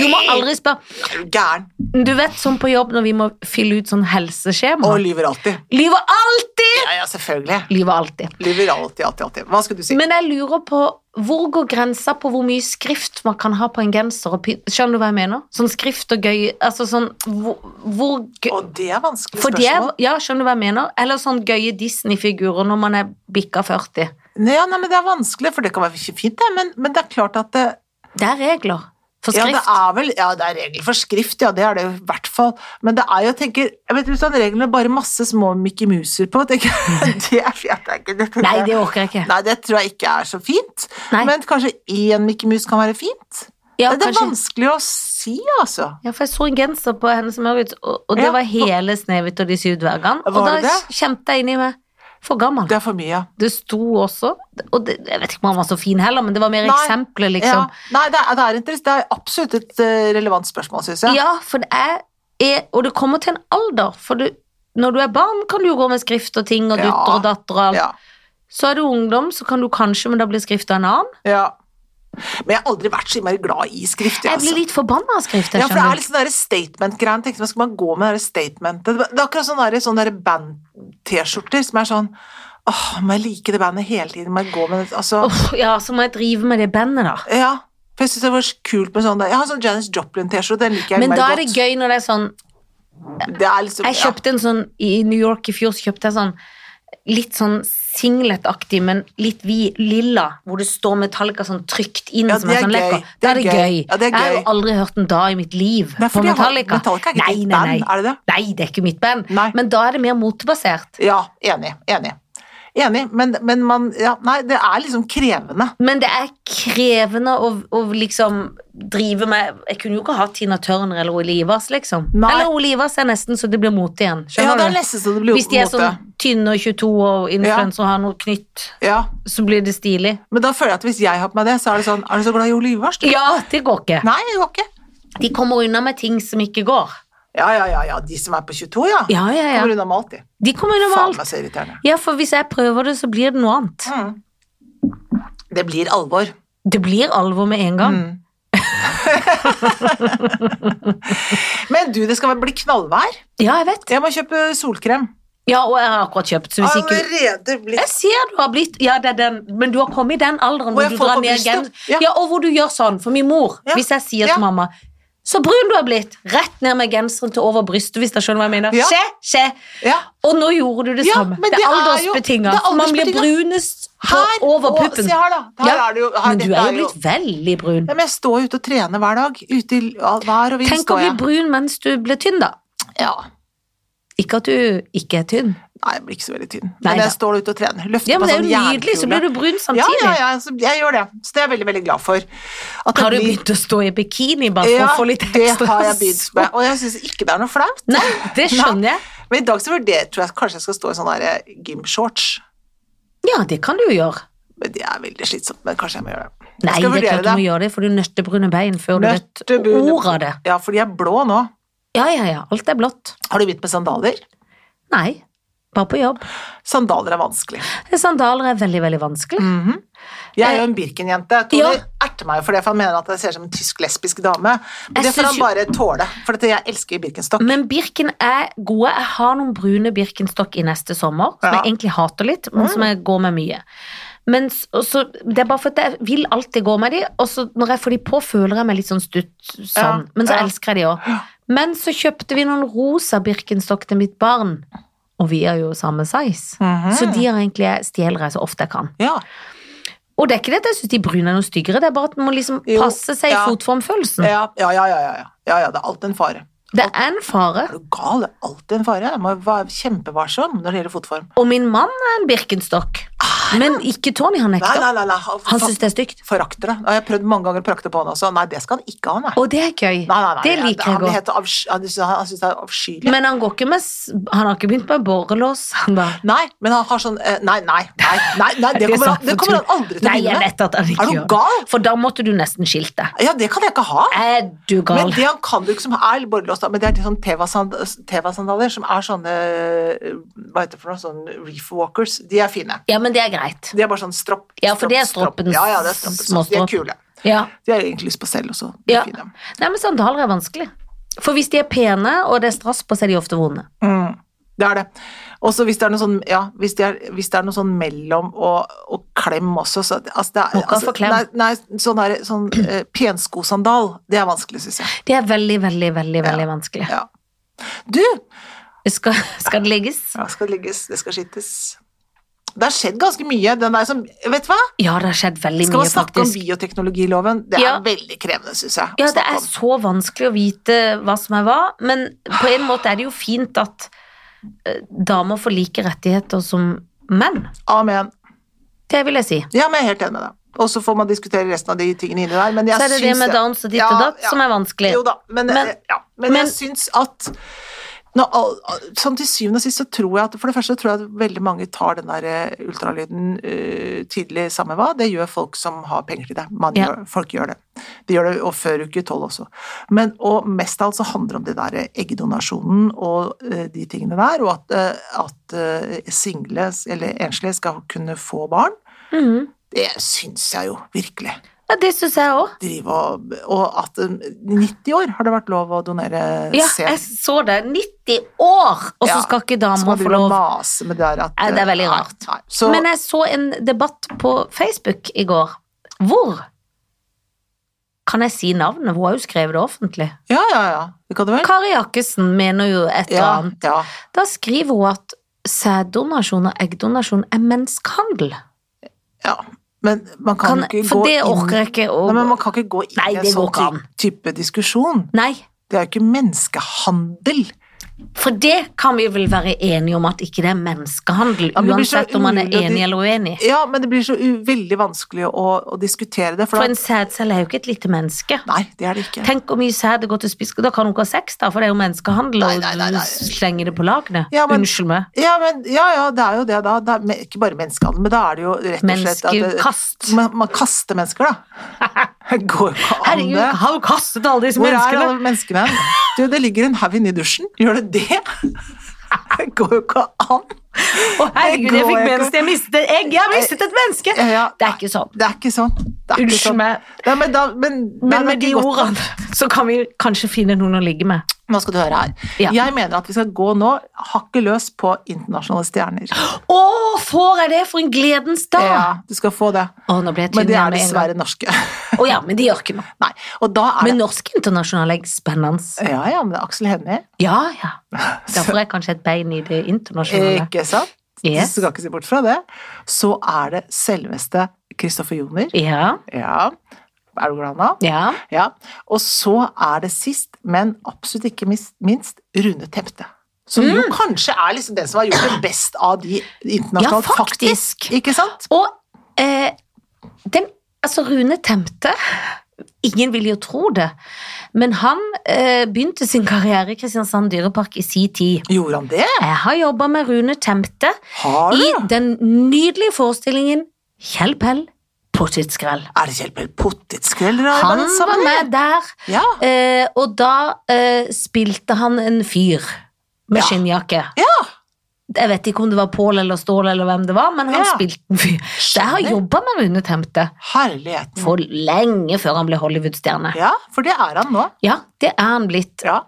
Speaker 1: Du må aldri spørre
Speaker 2: Er du gæren?
Speaker 1: Du vet sånn på jobb når vi må fylle ut sånn helseskjema
Speaker 2: Og lyver alltid.
Speaker 1: Lyver alltid
Speaker 2: Ja, ja, selvfølgelig.
Speaker 1: Lyver alltid
Speaker 2: Lyver alltid, alltid, alltid. Hva skulle du si?
Speaker 1: Men jeg lurer på Hvor går grensa på hvor mye skrift man kan ha på en genser og py- Skjønner du hva jeg mener? Sånn skrift og gøy Altså sånn Hvor, hvor gøy
Speaker 2: Og det er vanskelig
Speaker 1: For det er,
Speaker 2: spørsmål.
Speaker 1: ja, skjønner du hva jeg mener? Eller sånn gøye Disney-figurer når man er bikka 40.
Speaker 2: Nei, ja, nei, men det er vanskelig, for det kan være fint, det. Men, men det er klart at eh, det,
Speaker 1: Det er regler for
Speaker 2: Ja,
Speaker 1: skrift.
Speaker 2: det er vel Ja, det er regler for skrift, ja, det er det jo i hvert fall. Men det er jo, tenker Jeg vet ikke om reglene er bare masse små Mickey Muser på, tenker jeg. Det er fint, ikke det.
Speaker 1: Nei, det orker jeg ikke.
Speaker 2: Nei, det tror jeg ikke er så fint.
Speaker 1: Nei.
Speaker 2: Men kanskje én Mickey Mus kan være fint?
Speaker 1: Ja,
Speaker 2: det er
Speaker 1: kanskje-
Speaker 2: vanskelig å si, altså.
Speaker 1: ja, for jeg så en genser på henne som Maurits, og, og det
Speaker 2: Ja.
Speaker 1: var hele Snehvit og de syv dvergene. Og
Speaker 2: Var
Speaker 1: da
Speaker 2: det det?
Speaker 1: kjente jeg inni meg For gammel.
Speaker 2: Det er for mye.
Speaker 1: Det sto også Og det, jeg vet ikke om han var så fin heller, men det var mer
Speaker 2: Nei.
Speaker 1: eksempler, liksom.
Speaker 2: Ja. Nei, det er, det er interess- Det er absolutt et eh, relevant spørsmål, syns
Speaker 1: Ja,
Speaker 2: jeg.
Speaker 1: for det er, er Og det kommer til en alder, for du, når du er barn, kan du jo gå med skrift og ting og
Speaker 2: Ja.
Speaker 1: dutter og datter og alt.
Speaker 2: Ja.
Speaker 1: Så er du ungdom, så kan du kanskje, men da blir skrifta en annen.
Speaker 2: ja. Men jeg har aldri vært så innmari glad i skrift. jeg,
Speaker 1: Jeg blir
Speaker 2: altså.
Speaker 1: litt forbanna av skrift. Jeg
Speaker 2: Ja, for det er
Speaker 1: skjønner.
Speaker 2: litt sånn derre statement-greien. Tenkte man, skal man gå med det statementet? Det er akkurat sånn derre sånn derre band-T-skjorter som er sånn Åh, må jeg like det bandet hele tiden? Må jeg gå med det Altså
Speaker 1: Uff, ja, så må jeg drive med det bandet, da.
Speaker 2: Ja. For jeg syns det var så kult med sånn der. Jeg har sånn Janis Joplin-T-skjorte, den liker jeg
Speaker 1: Men
Speaker 2: innmari
Speaker 1: da er det
Speaker 2: godt.
Speaker 1: gøy når det er sånn
Speaker 2: Det er liksom
Speaker 1: Jeg kjøpte en sånn i New York i fjor, så kjøpte jeg sånn litt sånn singletaktig, men litt vid, lilla, hvor det står Metallica sånn trykt inn
Speaker 2: Ja,
Speaker 1: som en
Speaker 2: det er
Speaker 1: sånn
Speaker 2: gøy.
Speaker 1: lekker. Da er det gøy.
Speaker 2: Ja, det er
Speaker 1: Jeg har jo
Speaker 2: gøy.
Speaker 1: aldri hørt en dag i mitt liv
Speaker 2: Nei,
Speaker 1: på
Speaker 2: fordi jeg har-
Speaker 1: Metallica.
Speaker 2: Metallica er ikke ditt
Speaker 1: nei,
Speaker 2: band,
Speaker 1: nei.
Speaker 2: er det det?
Speaker 1: Nei, det er ikke mitt band.
Speaker 2: Nei.
Speaker 1: Men da er det mer motebasert.
Speaker 2: ja. ja, enig. Enig. Enig, men, men man ja, Nei, det er liksom krevende.
Speaker 1: Men det er krevende å, å liksom drive med Jeg kunne jo ikke hatt Tina Turner eller Ole Ivers, liksom.
Speaker 2: Nei.
Speaker 1: Eller Ole Ivers er nesten så det blir mote igjen.
Speaker 2: Ja, det
Speaker 1: Skjønner
Speaker 2: er
Speaker 1: du?
Speaker 2: nesten så det blir
Speaker 1: Hvis de er
Speaker 2: mot det.
Speaker 1: sånn tynne og 22 og influenser og har noe knytt,
Speaker 2: Ja,
Speaker 1: så blir det stilig.
Speaker 2: men da føler jeg at hvis jeg har på meg det, så er det sånn Er du så glad i Ole Ivars? du?»
Speaker 1: Ja, det går ikke.
Speaker 2: Nei, det går ikke.
Speaker 1: De kommer unna med ting som ikke går.
Speaker 2: Ja, ja, ja, ja, de som er på 22, ja.
Speaker 1: Ja, ja, ja.
Speaker 2: Kommer unna med alltid.
Speaker 1: De kommer unna med
Speaker 2: Faen altså. meg
Speaker 1: alt.
Speaker 2: så irriterende.
Speaker 1: Ja, for hvis jeg prøver det, så blir det noe annet.
Speaker 2: Mm. Det blir alvor.
Speaker 1: Det blir alvor med en
Speaker 2: Mm.
Speaker 1: gang.
Speaker 2: Men du, det skal bli knallvær.
Speaker 1: Ja, jeg vet.
Speaker 2: Jeg må kjøpe solkrem.
Speaker 1: Ja, og jeg har akkurat kjøpt, så hvis ikke
Speaker 2: Allerede blitt
Speaker 1: Jeg ser du har blitt Ja, det er den, men du har kommet i den alderen
Speaker 2: Hvor
Speaker 1: hvor
Speaker 2: jeg
Speaker 1: du
Speaker 2: får
Speaker 1: drar
Speaker 2: på
Speaker 1: ned
Speaker 2: brystet.
Speaker 1: gen...
Speaker 2: Ja.
Speaker 1: Ja. og hvor du gjør sånn. For min mor,
Speaker 2: Ja.
Speaker 1: hvis jeg sier
Speaker 2: Ja.
Speaker 1: til mamma så brun du har blitt! Rett ned med genseren til over brystet, hvis jeg skjønner hva jeg mener.
Speaker 2: Ja.
Speaker 1: Skje, skje.
Speaker 2: Ja.
Speaker 1: Og nå gjorde du det
Speaker 2: Ja,
Speaker 1: samme.
Speaker 2: men
Speaker 1: Det
Speaker 2: det
Speaker 1: er
Speaker 2: er jo-
Speaker 1: aldersbetinga.
Speaker 2: det er
Speaker 1: For Man blir
Speaker 2: aldersbetinget.
Speaker 1: brunest på,
Speaker 2: her.
Speaker 1: over
Speaker 2: og-
Speaker 1: puppen.
Speaker 2: Se her, da. Her
Speaker 1: Ja,
Speaker 2: er det jo, her,
Speaker 1: men du
Speaker 2: dette
Speaker 1: er jo blitt veldig brun.
Speaker 2: ja, men jeg står ute og trener hver dag. Ute i all- vær og vind
Speaker 1: Tenk å
Speaker 2: står
Speaker 1: bli
Speaker 2: jeg.
Speaker 1: brun mens du blir tynn, da.
Speaker 2: Ja.
Speaker 1: Ikke at du ikke er tynn.
Speaker 2: Nei, jeg blir ikke så veldig tynn.
Speaker 1: Nei
Speaker 2: men
Speaker 1: da.
Speaker 2: jeg står ute og trener. Løfter
Speaker 1: Ja, men
Speaker 2: på
Speaker 1: det er
Speaker 2: sånn
Speaker 1: jo nydelig, så
Speaker 2: jernkule.
Speaker 1: blir du brun
Speaker 2: Ja,
Speaker 1: samtidig.
Speaker 2: ja, ja, så jeg gjør det. Så det er jeg veldig, veldig glad for. At jeg
Speaker 1: Har du
Speaker 2: blir-
Speaker 1: begynt å stå i bikini bare for
Speaker 2: ja,
Speaker 1: å få litt
Speaker 2: det
Speaker 1: ekstra
Speaker 2: har jeg begynt med, og jeg syns ikke det er noe flaut.
Speaker 1: Nei, det skjønner
Speaker 2: Nei.
Speaker 1: jeg.
Speaker 2: Men i dag så vurderer tror jeg kanskje jeg skal stå i sånne der, eh, gymshorts.
Speaker 1: Ja, det kan du jo gjøre.
Speaker 2: Men det er veldig slitsomt, men kanskje jeg må gjøre det. Jeg
Speaker 1: Nei,
Speaker 2: skal
Speaker 1: det er
Speaker 2: vurdere
Speaker 1: klart du må gjøre det, for du nøtter brune bein før du vet
Speaker 2: Nøttebune-
Speaker 1: ordet av det.
Speaker 2: Ja, for de er blå nå.
Speaker 1: Ja, ja, ja. Alt er blått.
Speaker 2: Har du begynt med sandaler?
Speaker 1: Nei. Bare på jobb.
Speaker 2: Sandaler er vanskelig. Mhm.
Speaker 1: Sandaler er veldig, veldig vanskelig.
Speaker 2: Jeg er jo en Birken-jente. Tony
Speaker 1: Ja.
Speaker 2: erter meg jo for det, for han mener at jeg ser ut som en tysk lesbisk dame. Men
Speaker 1: Jeg
Speaker 2: det får
Speaker 1: synes
Speaker 2: han
Speaker 1: jo- Mm.
Speaker 2: bare tåle, for at jeg elsker Birkenstock.
Speaker 1: Men Birken er gode. Jeg har noen brune Birkenstock i neste sommer, som
Speaker 2: Ja. Mm.
Speaker 1: jeg egentlig hater litt, men som jeg går med mye. Men s- og så, det er bare for at jeg vil alltid gå med de, og så når jeg får de på, føler jeg meg litt sånn stutt sånn.
Speaker 2: Ja,
Speaker 1: Men så
Speaker 2: ja.
Speaker 1: elsker jeg de òg. Men så kjøpte vi noen rosa Birkenstock til mitt barn, og vi er jo samme size.
Speaker 2: Mhm.
Speaker 1: Så de har egentlig jeg stjeler jeg så ofte jeg kan.
Speaker 2: Ja.
Speaker 1: Og det er ikke det at jeg syns de brune er noe styggere, det er bare at man må liksom
Speaker 2: Jo,
Speaker 1: passe seg
Speaker 2: ja.
Speaker 1: i fotformfølelsen.
Speaker 2: Ja, ja, ja, ja, ja, ja. ja, ja, det er alltid en fare.
Speaker 1: Det er en fare.
Speaker 2: Er du gal? Det er alltid en fare. Jeg må være kjempevarsom når det gjelder fotform.
Speaker 1: Og min mann er en Birkenstock. Men ikke Tony, han
Speaker 2: Ah, Nei,
Speaker 1: nekter.
Speaker 2: nei, nei, nei.
Speaker 1: Han syns det er stygt.
Speaker 2: Forakter det. Og Jeg har prøvd mange ganger å prakte på han også. Nei, det skal han ikke ha, nei.
Speaker 1: Og det er gøy.
Speaker 2: nei, nei, nei.
Speaker 1: det liker jeg
Speaker 2: Han,
Speaker 1: godt.
Speaker 2: heter avsky- han syns- han syns det er avskyelig.
Speaker 1: Men han går ikke med s- Han har ikke begynt med borrelås. Han da.
Speaker 2: Nei, men han har sånn eh, Nei, nei, nei, nei, nei det,
Speaker 1: er
Speaker 2: kommer
Speaker 1: sånn
Speaker 2: han, det
Speaker 1: for
Speaker 2: kommer
Speaker 1: tull.
Speaker 2: han aldri til å
Speaker 1: Nei,
Speaker 2: begynne
Speaker 1: jeg
Speaker 2: med.
Speaker 1: vet at han ikke
Speaker 2: Er du
Speaker 1: gjør
Speaker 2: gal?
Speaker 1: For da måtte du nesten skilt deg.
Speaker 2: Ja, det kan jeg ikke ha.
Speaker 1: Er du
Speaker 2: Men
Speaker 1: gal?
Speaker 2: det han kan du ikke som er borrelåst, da, men det er de sånn Teva-sand- Teva-sandaler som er sånne eh, Hva heter det for noe? Sånn reef walkers. De er fine.
Speaker 1: Ja, men det er greit.
Speaker 2: De er bare sånn stropp.
Speaker 1: Ja, for det er stroppens
Speaker 2: Ja, ja, det er stroppens.
Speaker 1: småstropp.
Speaker 2: De er kule.
Speaker 1: Ja.
Speaker 2: De har egentlig lyst på selv også. De
Speaker 1: ja.
Speaker 2: er fine.
Speaker 1: Nei, men sandaler er vanskelig. For hvis de er pene, og det er strass på, så er de ofte vonde.
Speaker 2: Mm, det er det. Og så hvis det er noe sånn, ja, hvis det er, hvis det er noe sånn mellom og, og klem også, så altså det er,
Speaker 1: Må ikke
Speaker 2: altså,
Speaker 1: få klem.
Speaker 2: Nei, nei, sånn, der, sånn eh, penskosandal, det er vanskelig, syns jeg.
Speaker 1: Det er veldig, veldig, veldig veldig vanskelig.
Speaker 2: Ja. Du!
Speaker 1: Skal, skal det ligges?
Speaker 2: Ja, skal det ligges, det skal skittes. Det har skjedd ganske mye. Den der som, vet du hva?
Speaker 1: Ja, det har skjedd veldig
Speaker 2: Skal man
Speaker 1: mye,
Speaker 2: snakke om
Speaker 1: faktisk.
Speaker 2: bioteknologiloven? Det er
Speaker 1: Ja.
Speaker 2: veldig krevende, syns jeg. å
Speaker 1: Ja, det
Speaker 2: snakke
Speaker 1: er
Speaker 2: om.
Speaker 1: så vanskelig å vite hva som er hva, men på en måte er det jo fint at eh, damer får like rettigheter som menn.
Speaker 2: Amen.
Speaker 1: Det vil jeg si.
Speaker 2: Ja, men jeg er helt enig med deg. Og så får man diskutere resten av de tingene inni der, men jeg
Speaker 1: Så er det det
Speaker 2: syns
Speaker 1: med downs og ditt og datt som er vanskelig.
Speaker 2: Jo da, men,
Speaker 1: Men-
Speaker 2: eh, ja, men,
Speaker 1: men-
Speaker 2: jeg syns at nå, all- all- sånn til syvende og sist så tror jeg at For det første tror jeg at veldig mange tar den der eh, ultralyden eh, tidlig samme hva. Det gjør folk som har penger til det. Man
Speaker 1: Ja.
Speaker 2: gjør, folk gjør det. De gjør det og før uke tolv også. Men og mest av alt så handler det om det der eh, eggdonasjonen og eh, de tingene der, og at, eh, at eh, single eller enslige skal kunne få barn.
Speaker 1: Mhm.
Speaker 2: Det syns jeg jo virkelig
Speaker 1: Ja, det syns jeg òg.
Speaker 2: drive og, og at um, 90 år har det vært lov å donere
Speaker 1: Ja,
Speaker 2: sæd.
Speaker 1: jeg så det. 90 år, og så
Speaker 2: Ja,
Speaker 1: skal ikke
Speaker 2: Så man
Speaker 1: damer få
Speaker 2: driver og
Speaker 1: lov.
Speaker 2: maser med det der at
Speaker 1: Nei, det er veldig
Speaker 2: nei,
Speaker 1: rart.
Speaker 2: Nei, så,
Speaker 1: Men jeg så en debatt på Facebook i går. Hvor? Kan jeg si navnet? Hun har jo skrevet det offentlig.
Speaker 2: ja, ja, ja. Det kan du vel?
Speaker 1: Kari Jakkesen mener jo et eller
Speaker 2: Ja,
Speaker 1: annet.
Speaker 2: ja.
Speaker 1: Da skriver hun at sæddonasjon og eggdonasjon er menneskehandel.
Speaker 2: ja. Men man kan,
Speaker 1: Kan,
Speaker 2: ikke gå
Speaker 1: for det orker
Speaker 2: inn
Speaker 1: jeg ikke å
Speaker 2: Nei, men man kan ikke gå inn
Speaker 1: Nei,
Speaker 2: i en
Speaker 1: det går
Speaker 2: sånn
Speaker 1: ikke an.
Speaker 2: ty- type diskusjon.
Speaker 1: Nei,
Speaker 2: Det er jo ikke menneskehandel.
Speaker 1: for det kan vi vel være enige om at ikke det er menneskehandel,
Speaker 2: Ja, men det blir så
Speaker 1: uansett om man er
Speaker 2: umulig at de-
Speaker 1: enig eller uenig.
Speaker 2: Ja, men det blir så u veldig vanskelig å, å diskutere det. For
Speaker 1: For en
Speaker 2: da,
Speaker 1: sædcelle er jo ikke et lite menneske.
Speaker 2: nei, det er det ikke.
Speaker 1: Tenk hvor mye sæd det går til spisk, da kan hun ikke ha sex, da, for det er jo menneskehandel
Speaker 2: Nei, nei, nei,
Speaker 1: å
Speaker 2: nei.
Speaker 1: slenge det på lagene.
Speaker 2: Ja, men-
Speaker 1: Unnskyld meg.
Speaker 2: Ja, men, ja, ja, det er jo det, da. Det er, men ikke bare menneskehandel, men da er det jo rett og slett at det-
Speaker 1: Menneskekast.
Speaker 2: Man, man kaster mennesker, da. Det går jo ikke an,
Speaker 1: Herregud,
Speaker 2: det.
Speaker 1: har hun kastet alle disse
Speaker 2: Hvor er
Speaker 1: menneskene?
Speaker 2: alle menneskene? Du, det ligger en haug inni dusjen. Gjør det det? Det går jo ikke an.
Speaker 1: Å, herregud, jeg
Speaker 2: går
Speaker 1: fikk
Speaker 2: ikke.
Speaker 1: mensen, jeg mistet et egg, jeg har mistet et menneske!
Speaker 2: Ja, ja.
Speaker 1: Det er ikke sånn.
Speaker 2: Det er ikke sånn. Det er ikke
Speaker 1: Unnskyld
Speaker 2: sånn.
Speaker 1: meg.
Speaker 2: Nei, men da, men,
Speaker 1: Men
Speaker 2: nei,
Speaker 1: med
Speaker 2: det
Speaker 1: de
Speaker 2: er ikke godt.
Speaker 1: ordene så kan vi kanskje finne noen å ligge med.
Speaker 2: Nå skal du høre her.
Speaker 1: Ja.
Speaker 2: Jeg mener at vi skal gå nå hakket løs på internasjonale stjerner.
Speaker 1: Å, får jeg det for en gledens dag!
Speaker 2: Ja, du skal få det.
Speaker 1: Å, nå ble jeg tynn
Speaker 2: Men det
Speaker 1: igjen med en
Speaker 2: er
Speaker 1: gang.
Speaker 2: dessverre norske.
Speaker 1: Å ja, men de gjør ikke noe.
Speaker 2: Nei. Og da er det
Speaker 1: Men norsk internasjonal er spennende.
Speaker 2: Ja, ja, men det er Aksel Hennie.
Speaker 1: Ja, ja. Derfor er jeg kanskje et bein i det internasjonale.
Speaker 2: Ikke sant?
Speaker 1: Yes.
Speaker 2: Du skal ikke se bort fra det. Så er det selveste Kristoffer Joner.
Speaker 1: Ja,
Speaker 2: Ja. Er du glad nå?
Speaker 1: ja.
Speaker 2: Ja. Og så er det sist, men absolutt ikke mis- minst, Rune Temte. Som jo kanskje er liksom den som har gjort det best av de internasjonalt,
Speaker 1: Mm. Ja,
Speaker 2: faktisk.
Speaker 1: faktisk.
Speaker 2: Ikke sant?
Speaker 1: Og eh, den, altså Rune Temte Ingen vil jo tro det, men han eh, begynte sin karriere i Kristiansand dyrepark i si tid.
Speaker 2: Gjorde han det?
Speaker 1: Jeg har jobba med Rune Temte
Speaker 2: Har
Speaker 1: i
Speaker 2: du?
Speaker 1: den nydelige forestillingen Kjell Pell pottitskrell.
Speaker 2: Er det Kjell Pell Pottitskveld dere har
Speaker 1: Han var
Speaker 2: arbeidet sammen med?
Speaker 1: med der,
Speaker 2: Ja.
Speaker 1: eh, og da eh, spilte han en fyr med
Speaker 2: Ja.
Speaker 1: skinnjakke.
Speaker 2: ja.
Speaker 1: Jeg vet ikke om det var Pål eller Stål eller hvem det var, men han
Speaker 2: Ja.
Speaker 1: spilte en fyr. Så jeg har
Speaker 2: Skjønner.
Speaker 1: jobba med Rune Temte.
Speaker 2: Herligheten.
Speaker 1: for lenge før han ble Hollywood-stjerne.
Speaker 2: Ja, for det er han nå.
Speaker 1: Ja, det er han blitt.
Speaker 2: Ja.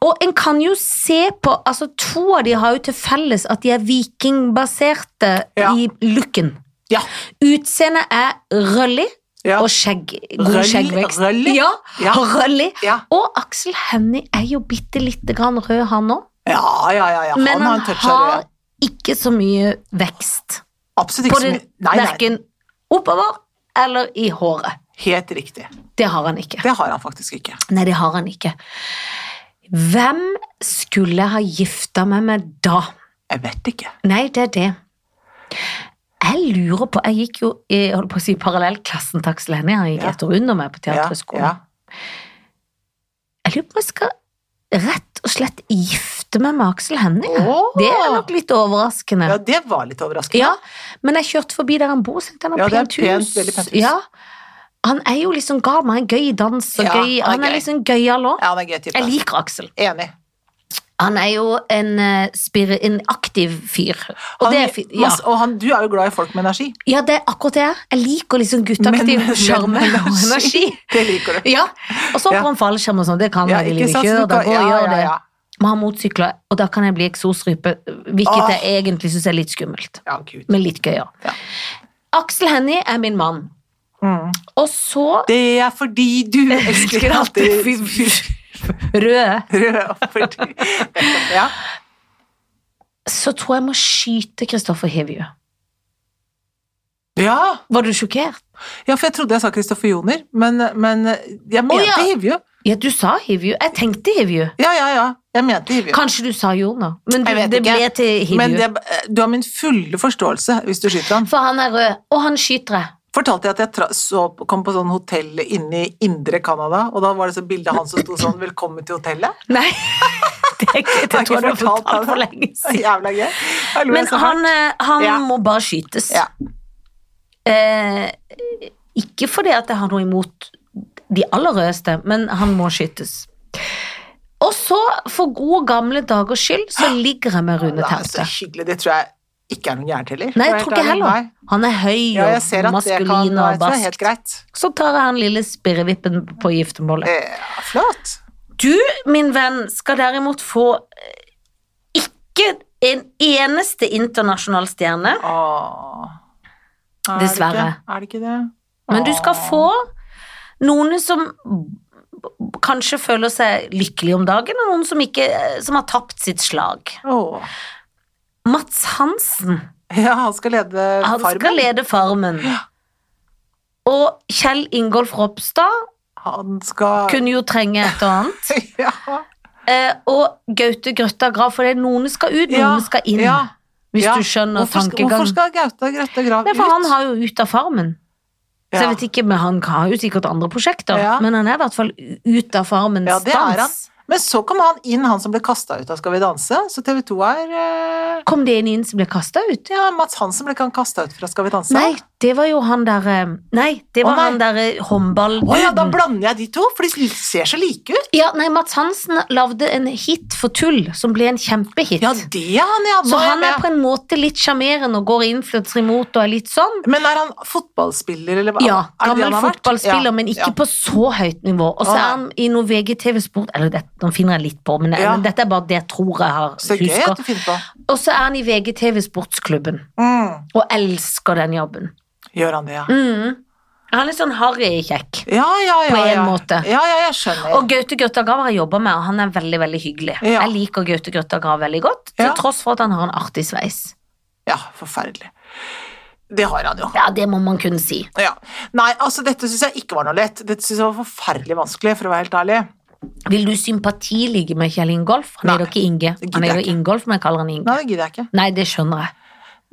Speaker 1: Og en kan jo se på altså To av de har jo til felles at de er vikingbaserte
Speaker 2: Ja.
Speaker 1: i looken.
Speaker 2: Ja.
Speaker 1: Utseendet er røllig
Speaker 2: Ja.
Speaker 1: og skjegg. God
Speaker 2: Røllig-
Speaker 1: skjeggvekst.
Speaker 2: røllig?
Speaker 1: Ja,
Speaker 2: Ja.
Speaker 1: røllig.
Speaker 2: Ja.
Speaker 1: Og Aksel Hennie er jo bitte lite grann rød, han òg.
Speaker 2: Ja, ja, ja, ja.
Speaker 1: Men
Speaker 2: Han har
Speaker 1: han
Speaker 2: en touch av
Speaker 1: har
Speaker 2: rød.
Speaker 1: ikke så mye vekst.
Speaker 2: Absolutt
Speaker 1: På
Speaker 2: ikke så
Speaker 1: den,
Speaker 2: mye. Nei, nei.
Speaker 1: verken oppover eller i håret.
Speaker 2: Helt riktig.
Speaker 1: Det har han ikke.
Speaker 2: Det har han faktisk ikke.
Speaker 1: Nei, det har han ikke. Hvem skulle jeg ha gifta meg med da?
Speaker 2: Jeg vet ikke.
Speaker 1: Nei, det er det. Jeg lurer på Jeg gikk jo i holdt på å si, parallellklassen til Aksel Hennie. Han gikk
Speaker 2: Ja.
Speaker 1: etter under meg på Teaterhøgskolen.
Speaker 2: Ja,
Speaker 1: Jeg lurer på om jeg skal rett og slett gifte meg med Aksel Hennie.
Speaker 2: Åh!
Speaker 1: Det er nok litt overraskende.
Speaker 2: ja. ja, det var litt overraskende.
Speaker 1: Ja, men jeg kjørte forbi der han bor, så tenkte jeg, han
Speaker 2: Ja,
Speaker 1: har
Speaker 2: det er
Speaker 1: pent
Speaker 2: pent,
Speaker 1: hus.
Speaker 2: veldig pent hus.
Speaker 1: Ja. Han er jo liksom gal, men han er gøy i dans og
Speaker 2: Ja,
Speaker 1: gøy
Speaker 2: han er
Speaker 1: Han er
Speaker 2: gøy.
Speaker 1: liksom gøyal òg.
Speaker 2: Ja, han er gøy type.
Speaker 1: Jeg liker Aksel.
Speaker 2: Enig.
Speaker 1: Han er jo en, eh, spiri- en aktiv fyr. Og,
Speaker 2: Han,
Speaker 1: det er, fi- ja.
Speaker 2: masse- og han, du er jo glad i folk med energi.
Speaker 1: ja, det er akkurat det jeg er. Jeg liker liksom gutteaktiv
Speaker 2: Men- men
Speaker 1: sjarme og energi.
Speaker 2: Det liker du.
Speaker 1: Ja, Og så
Speaker 2: Ja.
Speaker 1: på en fallskjerm og sånn, det kan
Speaker 2: Ja,
Speaker 1: jeg, vil
Speaker 2: ikke
Speaker 1: ikke
Speaker 2: sant, så
Speaker 1: gjøre,
Speaker 2: du
Speaker 1: da
Speaker 2: kan-
Speaker 1: går og
Speaker 2: ja,
Speaker 1: gjør
Speaker 2: ja,
Speaker 1: det.
Speaker 2: ja.
Speaker 1: Må ha motsykler, og da kan jeg bli eksosrype, hvilket
Speaker 2: Åh.
Speaker 1: jeg egentlig syns er litt skummelt.
Speaker 2: Ja, gud.
Speaker 1: Men litt gøy òg.
Speaker 2: Ja.
Speaker 1: Aksel Hennie er min mann.
Speaker 2: Mm.
Speaker 1: Og så
Speaker 2: Det er fordi du elsker
Speaker 1: elsker alltid
Speaker 2: alltid
Speaker 1: fy- røde.
Speaker 2: rød fordi- Ja.
Speaker 1: Så tror jeg jeg må skyte Kristoffer Hivju.
Speaker 2: ja.
Speaker 1: Var du sjokkert?
Speaker 2: Ja, for jeg trodde jeg sa Kristoffer Joner, men, men jeg mente
Speaker 1: ja.
Speaker 2: Hivju.
Speaker 1: Ja, du sa Hivju. Jeg tenkte Hivju.
Speaker 2: Ja, ja, ja. Jeg mente Hivju.
Speaker 1: Kanskje du sa Jonas, men du,
Speaker 2: Jeg vet
Speaker 1: det
Speaker 2: ikke.
Speaker 1: ble til Hivju.
Speaker 2: Men det, eh, du har min fulle forståelse hvis du skyter han.
Speaker 1: For han er rød, og han skyter jeg.
Speaker 2: Fortalte jeg at jeg tra så, kom på sånn hotell inne i indre Canada, og da var det så bilde av han som sto sånn 'Velkommen til hotellet'.
Speaker 1: Nei, det, er ikke-
Speaker 2: Har
Speaker 1: det
Speaker 2: ikke
Speaker 1: tror jeg du har
Speaker 2: fortalt han
Speaker 1: fortalt for
Speaker 2: det?
Speaker 1: lenge
Speaker 2: Det er
Speaker 1: siden.
Speaker 2: Jævla gøy. Jeg lo
Speaker 1: Men
Speaker 2: jeg så
Speaker 1: han,
Speaker 2: hardt.
Speaker 1: eh, han
Speaker 2: Ja.
Speaker 1: må bare skytes.
Speaker 2: Ja.
Speaker 1: Eh, ikke fordi at jeg har noe imot de aller rødeste, men han må skytes. Og så, for gode gamle dagers skyld, så ligger jeg med Rune
Speaker 2: Det er så
Speaker 1: Temte.
Speaker 2: hyggelig. Det tror jeg ikke er noen gærent heller.
Speaker 1: Nei,
Speaker 2: For å
Speaker 1: jeg tror
Speaker 2: være
Speaker 1: ikke
Speaker 2: helt ærlig.
Speaker 1: heller.
Speaker 2: Nei.
Speaker 1: Han er høy
Speaker 2: Ja, jeg
Speaker 1: og
Speaker 2: ser at det kan
Speaker 1: maskulin
Speaker 2: Nei,
Speaker 1: og
Speaker 2: det er helt
Speaker 1: barsk.
Speaker 2: greit.
Speaker 1: Så tar jeg han lille spirrevippen på giftermålet.
Speaker 2: Eh, flott.
Speaker 1: Du, min venn, skal derimot få eh, ikke en eneste internasjonal stjerne,
Speaker 2: Åh. Er det
Speaker 1: Dessverre.
Speaker 2: ikke- Er det ikke det?
Speaker 1: men du skal
Speaker 2: Åh.
Speaker 1: få noen som kanskje føler seg lykkelig om dagen, og noen som, ikke, eh, som har tapt sitt slag.
Speaker 2: Åh.
Speaker 1: Mats Hansen,
Speaker 2: Ja, han skal lede
Speaker 1: han
Speaker 2: Eh, Farmen.
Speaker 1: skal lede Farmen. Og Kjell Ingolf Ropstad
Speaker 2: Han skal
Speaker 1: kunne jo trenge et og annet.
Speaker 2: ja.
Speaker 1: Eh, og Gaute Grøtta Grav, for det er noen skal ut, noen
Speaker 2: Ja,
Speaker 1: skal inn.
Speaker 2: ja,
Speaker 1: Hvis
Speaker 2: ja.
Speaker 1: du skjønner
Speaker 2: hvorfor,
Speaker 1: tankegangen.
Speaker 2: Hvorfor skal Gaute Grøtte Grav
Speaker 1: Nei, for han
Speaker 2: ut?
Speaker 1: har jo ut av farmen. Så jeg vet ikke, men Han har jo sikkert andre prosjekter,
Speaker 2: Ja.
Speaker 1: men han er i hvert fall ut av farmens
Speaker 2: Ja, det er
Speaker 1: dans.
Speaker 2: Men så kom han inn, han som ble kasta ut av Skal vi danse. Så TV 2 er eh,
Speaker 1: Kom det en inn som ble kasta ut?
Speaker 2: Ja, Mats Hansen ble ikke han kasta ut fra Skal vi danse?
Speaker 1: Nei, det var jo han der eh, Nei, det
Speaker 2: Å,
Speaker 1: var
Speaker 2: nei.
Speaker 1: han der eh, håndballduden.
Speaker 2: Å ja, da blander jeg de to, for de ser så like ut.
Speaker 1: ja, nei, Mats Hansen lagde en hit for tull, som ble en kjempehit.
Speaker 2: Ja, det er han, ja. Nå
Speaker 1: så
Speaker 2: jeg
Speaker 1: han er
Speaker 2: med.
Speaker 1: på en måte litt sjarmerende og går influenser imot og er litt sånn.
Speaker 2: Men er han fotballspiller, eller hva?
Speaker 1: Ja,
Speaker 2: Er det det
Speaker 1: gammel
Speaker 2: han har vært?
Speaker 1: fotballspiller,
Speaker 2: Ja,
Speaker 1: men ikke
Speaker 2: ja.
Speaker 1: på så høyt nivå. Og så
Speaker 2: Å,
Speaker 1: er
Speaker 2: nei.
Speaker 1: han i noe VGTV Sport Eller dette, nå finner jeg litt på, men,
Speaker 2: Ja.
Speaker 1: men dette er bare det jeg tror jeg har
Speaker 2: Så gøy at du
Speaker 1: husker.
Speaker 2: finner på.
Speaker 1: Og så er han i VGTV Sportsklubben,
Speaker 2: Mm.
Speaker 1: og elsker den jobben.
Speaker 2: Gjør han det, ja?
Speaker 1: Mm. Han er sånn harry kjekk.
Speaker 2: Ja, ja, ja.
Speaker 1: På en
Speaker 2: ja.
Speaker 1: måte.
Speaker 2: Ja, ja, jeg skjønner.
Speaker 1: Og Gaute Grøtta Grav har jeg jobba med, og han er veldig veldig hyggelig.
Speaker 2: Ja.
Speaker 1: Jeg liker Gaute Grøtta Grav veldig godt, til
Speaker 2: Ja.
Speaker 1: tross for at han har en artig sveis.
Speaker 2: Ja, forferdelig. Det har han jo.
Speaker 1: Ja, det må man kunne si.
Speaker 2: Ja. Nei, altså dette syns jeg ikke var noe lett. Dette syns jeg var forferdelig vanskelig, for å være helt ærlig.
Speaker 1: Vil du sympatiligge med Kjell Ingolf? Han
Speaker 2: Nei,
Speaker 1: er jo ikke Inge.
Speaker 2: det
Speaker 1: Han
Speaker 2: gidder
Speaker 1: er
Speaker 2: jeg
Speaker 1: jo Ingolf, men jeg kaller han Inge.
Speaker 2: Nei, det gidder jeg ikke.
Speaker 1: Nei, det skjønner jeg.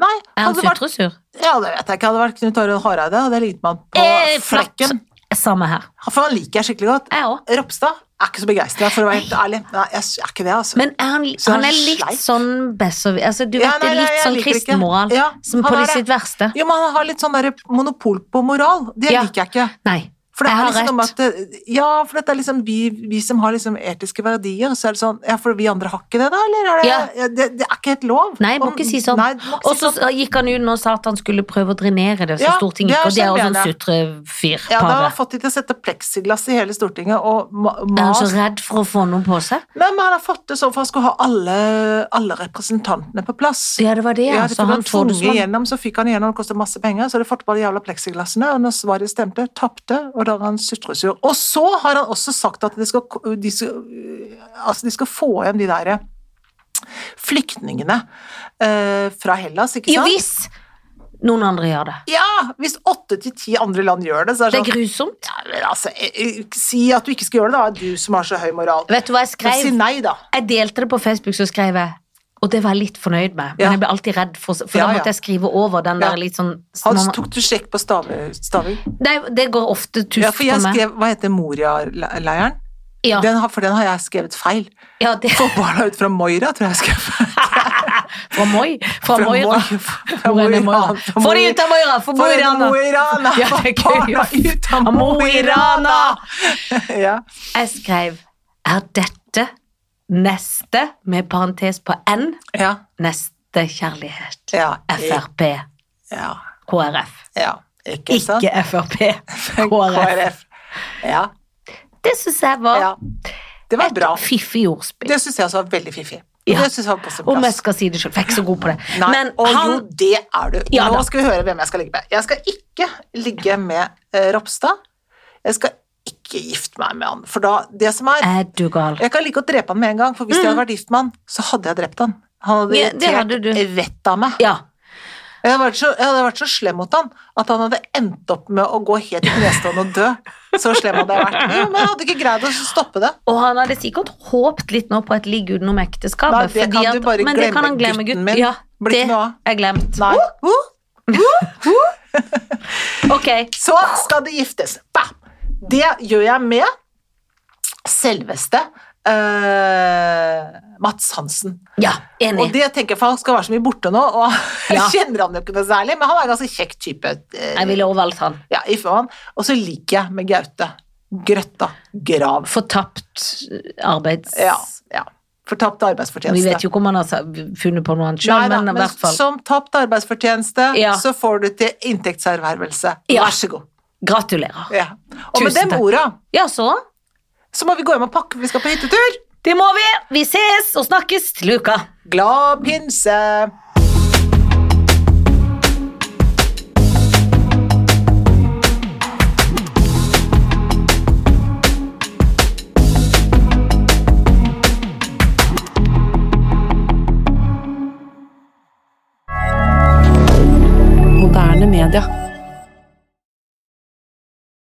Speaker 2: Nei,
Speaker 1: Er han
Speaker 2: hadde det vært,
Speaker 1: sutresur?
Speaker 2: ja, det vet jeg ikke. Hadde det vært Knut Arild Hareide, hadde jeg lignet med han på
Speaker 1: Eh, flott.
Speaker 2: flekken.
Speaker 1: Samme her.
Speaker 2: For han liker jeg skikkelig godt.
Speaker 1: Jeg òg.
Speaker 2: Ropstad er ikke så begeistra, for å være helt ærlig. Nei, jeg er ikke det, altså.
Speaker 1: Men er han,
Speaker 2: Så
Speaker 1: han
Speaker 2: han
Speaker 1: er litt
Speaker 2: sleip.
Speaker 1: sånn besserwisser altså, Du vet
Speaker 2: Ja, nei,
Speaker 1: det er litt
Speaker 2: jeg
Speaker 1: sånn
Speaker 2: liker det ikke.
Speaker 1: kristenmoral
Speaker 2: Ja,
Speaker 1: som
Speaker 2: han
Speaker 1: på
Speaker 2: er
Speaker 1: sitt verste.
Speaker 2: Jo, men han har litt sånn der monopol på moral. Det
Speaker 1: Ja.
Speaker 2: liker jeg ikke.
Speaker 1: Nei.
Speaker 2: For det
Speaker 1: Jeg
Speaker 2: er
Speaker 1: har
Speaker 2: liksom noe med
Speaker 1: rett.
Speaker 2: at det, Ja, for dette er liksom vi, vi som har liksom etiske verdier, så er det sånn Ja, for vi andre har ikke det, da? Eller er det
Speaker 1: Ja.
Speaker 2: ja, det, det er ikke helt lov?
Speaker 1: Nei, må
Speaker 2: Om-
Speaker 1: ikke si sånn.
Speaker 2: Nei, du må ikke
Speaker 1: Og
Speaker 2: si
Speaker 1: så
Speaker 2: sånn.
Speaker 1: gikk han ut nå og sa at han skulle prøve å drenere det, så
Speaker 2: Ja,
Speaker 1: Stortinget
Speaker 2: det er
Speaker 1: ikke Og det er også en
Speaker 2: kjempegjerne. Ja, da har jeg
Speaker 1: sutreparet.
Speaker 2: fått de til å sette pleksiglass i hele Stortinget og ma-
Speaker 1: Er han så
Speaker 2: mas
Speaker 1: redd for å få noen på seg?
Speaker 2: Nei, men han har fått det sånn for han skulle ha alle, alle representantene på plass.
Speaker 1: Ja, det var det, ja.
Speaker 2: Ja, det
Speaker 1: Så
Speaker 2: tok
Speaker 1: han
Speaker 2: han
Speaker 1: trodde
Speaker 2: tvunget
Speaker 1: sånn.
Speaker 2: igjennom, så fikk han igjennom, det kostet masse penger, så hadde de fått på de jævla pleksiglassene, og når svaret stemte, tapte, og da er han sutresur. Og så har han også sagt at de skal, de skal, altså de skal få hjem de der eh, flyktningene eh, fra Hellas, ikke
Speaker 1: Jo
Speaker 2: sant?
Speaker 1: visst! Noen andre gjør det.
Speaker 2: Ja, hvis åtte til ti andre land gjør det, så er
Speaker 1: Det
Speaker 2: det
Speaker 1: er
Speaker 2: sånn,
Speaker 1: grusomt.
Speaker 2: ja, men altså, eh, eh, si at du ikke skal gjøre det, da, er du som har så høy moral.
Speaker 1: Vet du hva jeg
Speaker 2: Men si
Speaker 1: skrev?
Speaker 2: nei, da.
Speaker 1: Jeg delte det på Facebook, så skrev jeg og det var jeg litt fornøyd med, men
Speaker 2: Ja.
Speaker 1: jeg ble alltid redd, for, for
Speaker 2: Ja,
Speaker 1: da
Speaker 2: ja.
Speaker 1: måtte jeg skrive over den der
Speaker 2: Ja.
Speaker 1: litt sånn
Speaker 2: Han
Speaker 1: når man-
Speaker 2: tok du sjekk på stave- staving?
Speaker 1: Nei, det går ofte tusk
Speaker 2: Ja, for jeg
Speaker 1: på meg.
Speaker 2: skrev, hva heter Moria-leiren?
Speaker 1: Ja,
Speaker 2: Den har, for den har jeg skrevet feil.
Speaker 1: ja, det
Speaker 2: For barna ut fra Moira, tror jeg jeg skrev feil.
Speaker 1: Fra Moi. Fra Moira.
Speaker 2: Moi- fra
Speaker 1: Hvor er det
Speaker 2: Moira.
Speaker 1: Moira? Få de ut av Moira! Få
Speaker 2: Få de ut av
Speaker 1: Moirana!
Speaker 2: Moirana!
Speaker 1: Ja, det er gøy, ja.
Speaker 2: Barna ut av
Speaker 1: Av Moirana!
Speaker 2: Moirana! Ja.
Speaker 1: Jeg skrev Er dette neste, med parentes på N,
Speaker 2: Ja.
Speaker 1: neste kjærlighet?
Speaker 2: Ja.
Speaker 1: Frp.
Speaker 2: ja.
Speaker 1: KrF.
Speaker 2: ja. Ikke sant?
Speaker 1: Ikke Frp. KrF.
Speaker 2: Ja.
Speaker 1: Det syns jeg var
Speaker 2: ja. Det var bra.
Speaker 1: et fiffig ordspill.
Speaker 2: Det syns jeg også var veldig fiffig.
Speaker 1: Ja.
Speaker 2: Det synes jeg var på sin
Speaker 1: Om jeg
Speaker 2: plass.
Speaker 1: skal si det sjøl, for jeg er ikke så god på det.
Speaker 2: Nei,
Speaker 1: Men
Speaker 2: og
Speaker 1: han
Speaker 2: jo, det er du.
Speaker 1: Ja da.
Speaker 2: Nå skal vi høre hvem jeg skal ligge med. Jeg skal ikke ligge med eh, Ropstad. Jeg skal ikke gifte meg med han. For da, det som er
Speaker 1: Er du gal?
Speaker 2: Jeg kan like godt drepe han med en gang, for hvis jeg hadde vært gift med han, så hadde jeg drept han. Han hadde
Speaker 1: Mm. Ja, det hadde
Speaker 2: irritert
Speaker 1: du.
Speaker 2: vettet av meg.
Speaker 1: Ja.
Speaker 2: Jeg hadde, vært så, jeg hadde vært så slem mot han at han hadde endt opp med å gå helt i knestående og dø. Så slem hadde jeg vært. Jo, men jeg hadde ikke greid å stoppe det.
Speaker 1: Og han hadde sikkert håpt litt nå på et ligg utenom ekteskapet.
Speaker 2: Nei, det
Speaker 1: fordi
Speaker 2: kan
Speaker 1: at,
Speaker 2: du bare
Speaker 1: men det kan
Speaker 2: glemme,
Speaker 1: han glemme,
Speaker 2: gutten
Speaker 1: gutten
Speaker 2: min.
Speaker 1: Ja,
Speaker 2: Blir
Speaker 1: det
Speaker 2: ikke noe av.
Speaker 1: er glemt.
Speaker 2: Nei. Uh,
Speaker 1: Ok,
Speaker 2: Så skal det giftes. Bam! Det gjør jeg med selveste eh, Mats Hansen.
Speaker 1: ja,
Speaker 2: Og
Speaker 1: enig.
Speaker 2: det tenker jeg, for han skal være så mye borte nå, og jeg
Speaker 1: Ja.
Speaker 2: kjenner han jo ikke noe særlig, men han er en ganske kjekk type. eh,
Speaker 1: Jeg ville også valgt han.
Speaker 2: Ja, i faen. Og så liker jeg med Gaute. Grøtta. Grav.
Speaker 1: Fortapt eh, arbeids...
Speaker 2: Ja. ja. Fortapt
Speaker 1: Vi
Speaker 2: arbeidsfortjeneste.
Speaker 1: vet jo ikke om han har sa- funnet på noe annet
Speaker 2: Nei
Speaker 1: sjøl,
Speaker 2: da,
Speaker 1: men i hvert fall
Speaker 2: Som tapt arbeidsfortjeneste,
Speaker 1: Ja.
Speaker 2: så får du til inntektservervelse.
Speaker 1: Ja.
Speaker 2: Vær så god.
Speaker 1: gratulerer.
Speaker 2: Ja. Og med
Speaker 1: Tusen
Speaker 2: den
Speaker 1: takk.
Speaker 2: orda,
Speaker 1: Ja, så?
Speaker 2: så må vi gå hjem og pakke, for vi skal på hyttetur.
Speaker 1: Det må vi! Vi ses og snakkes til uka.
Speaker 2: Glad pinse!
Speaker 3: moderne media.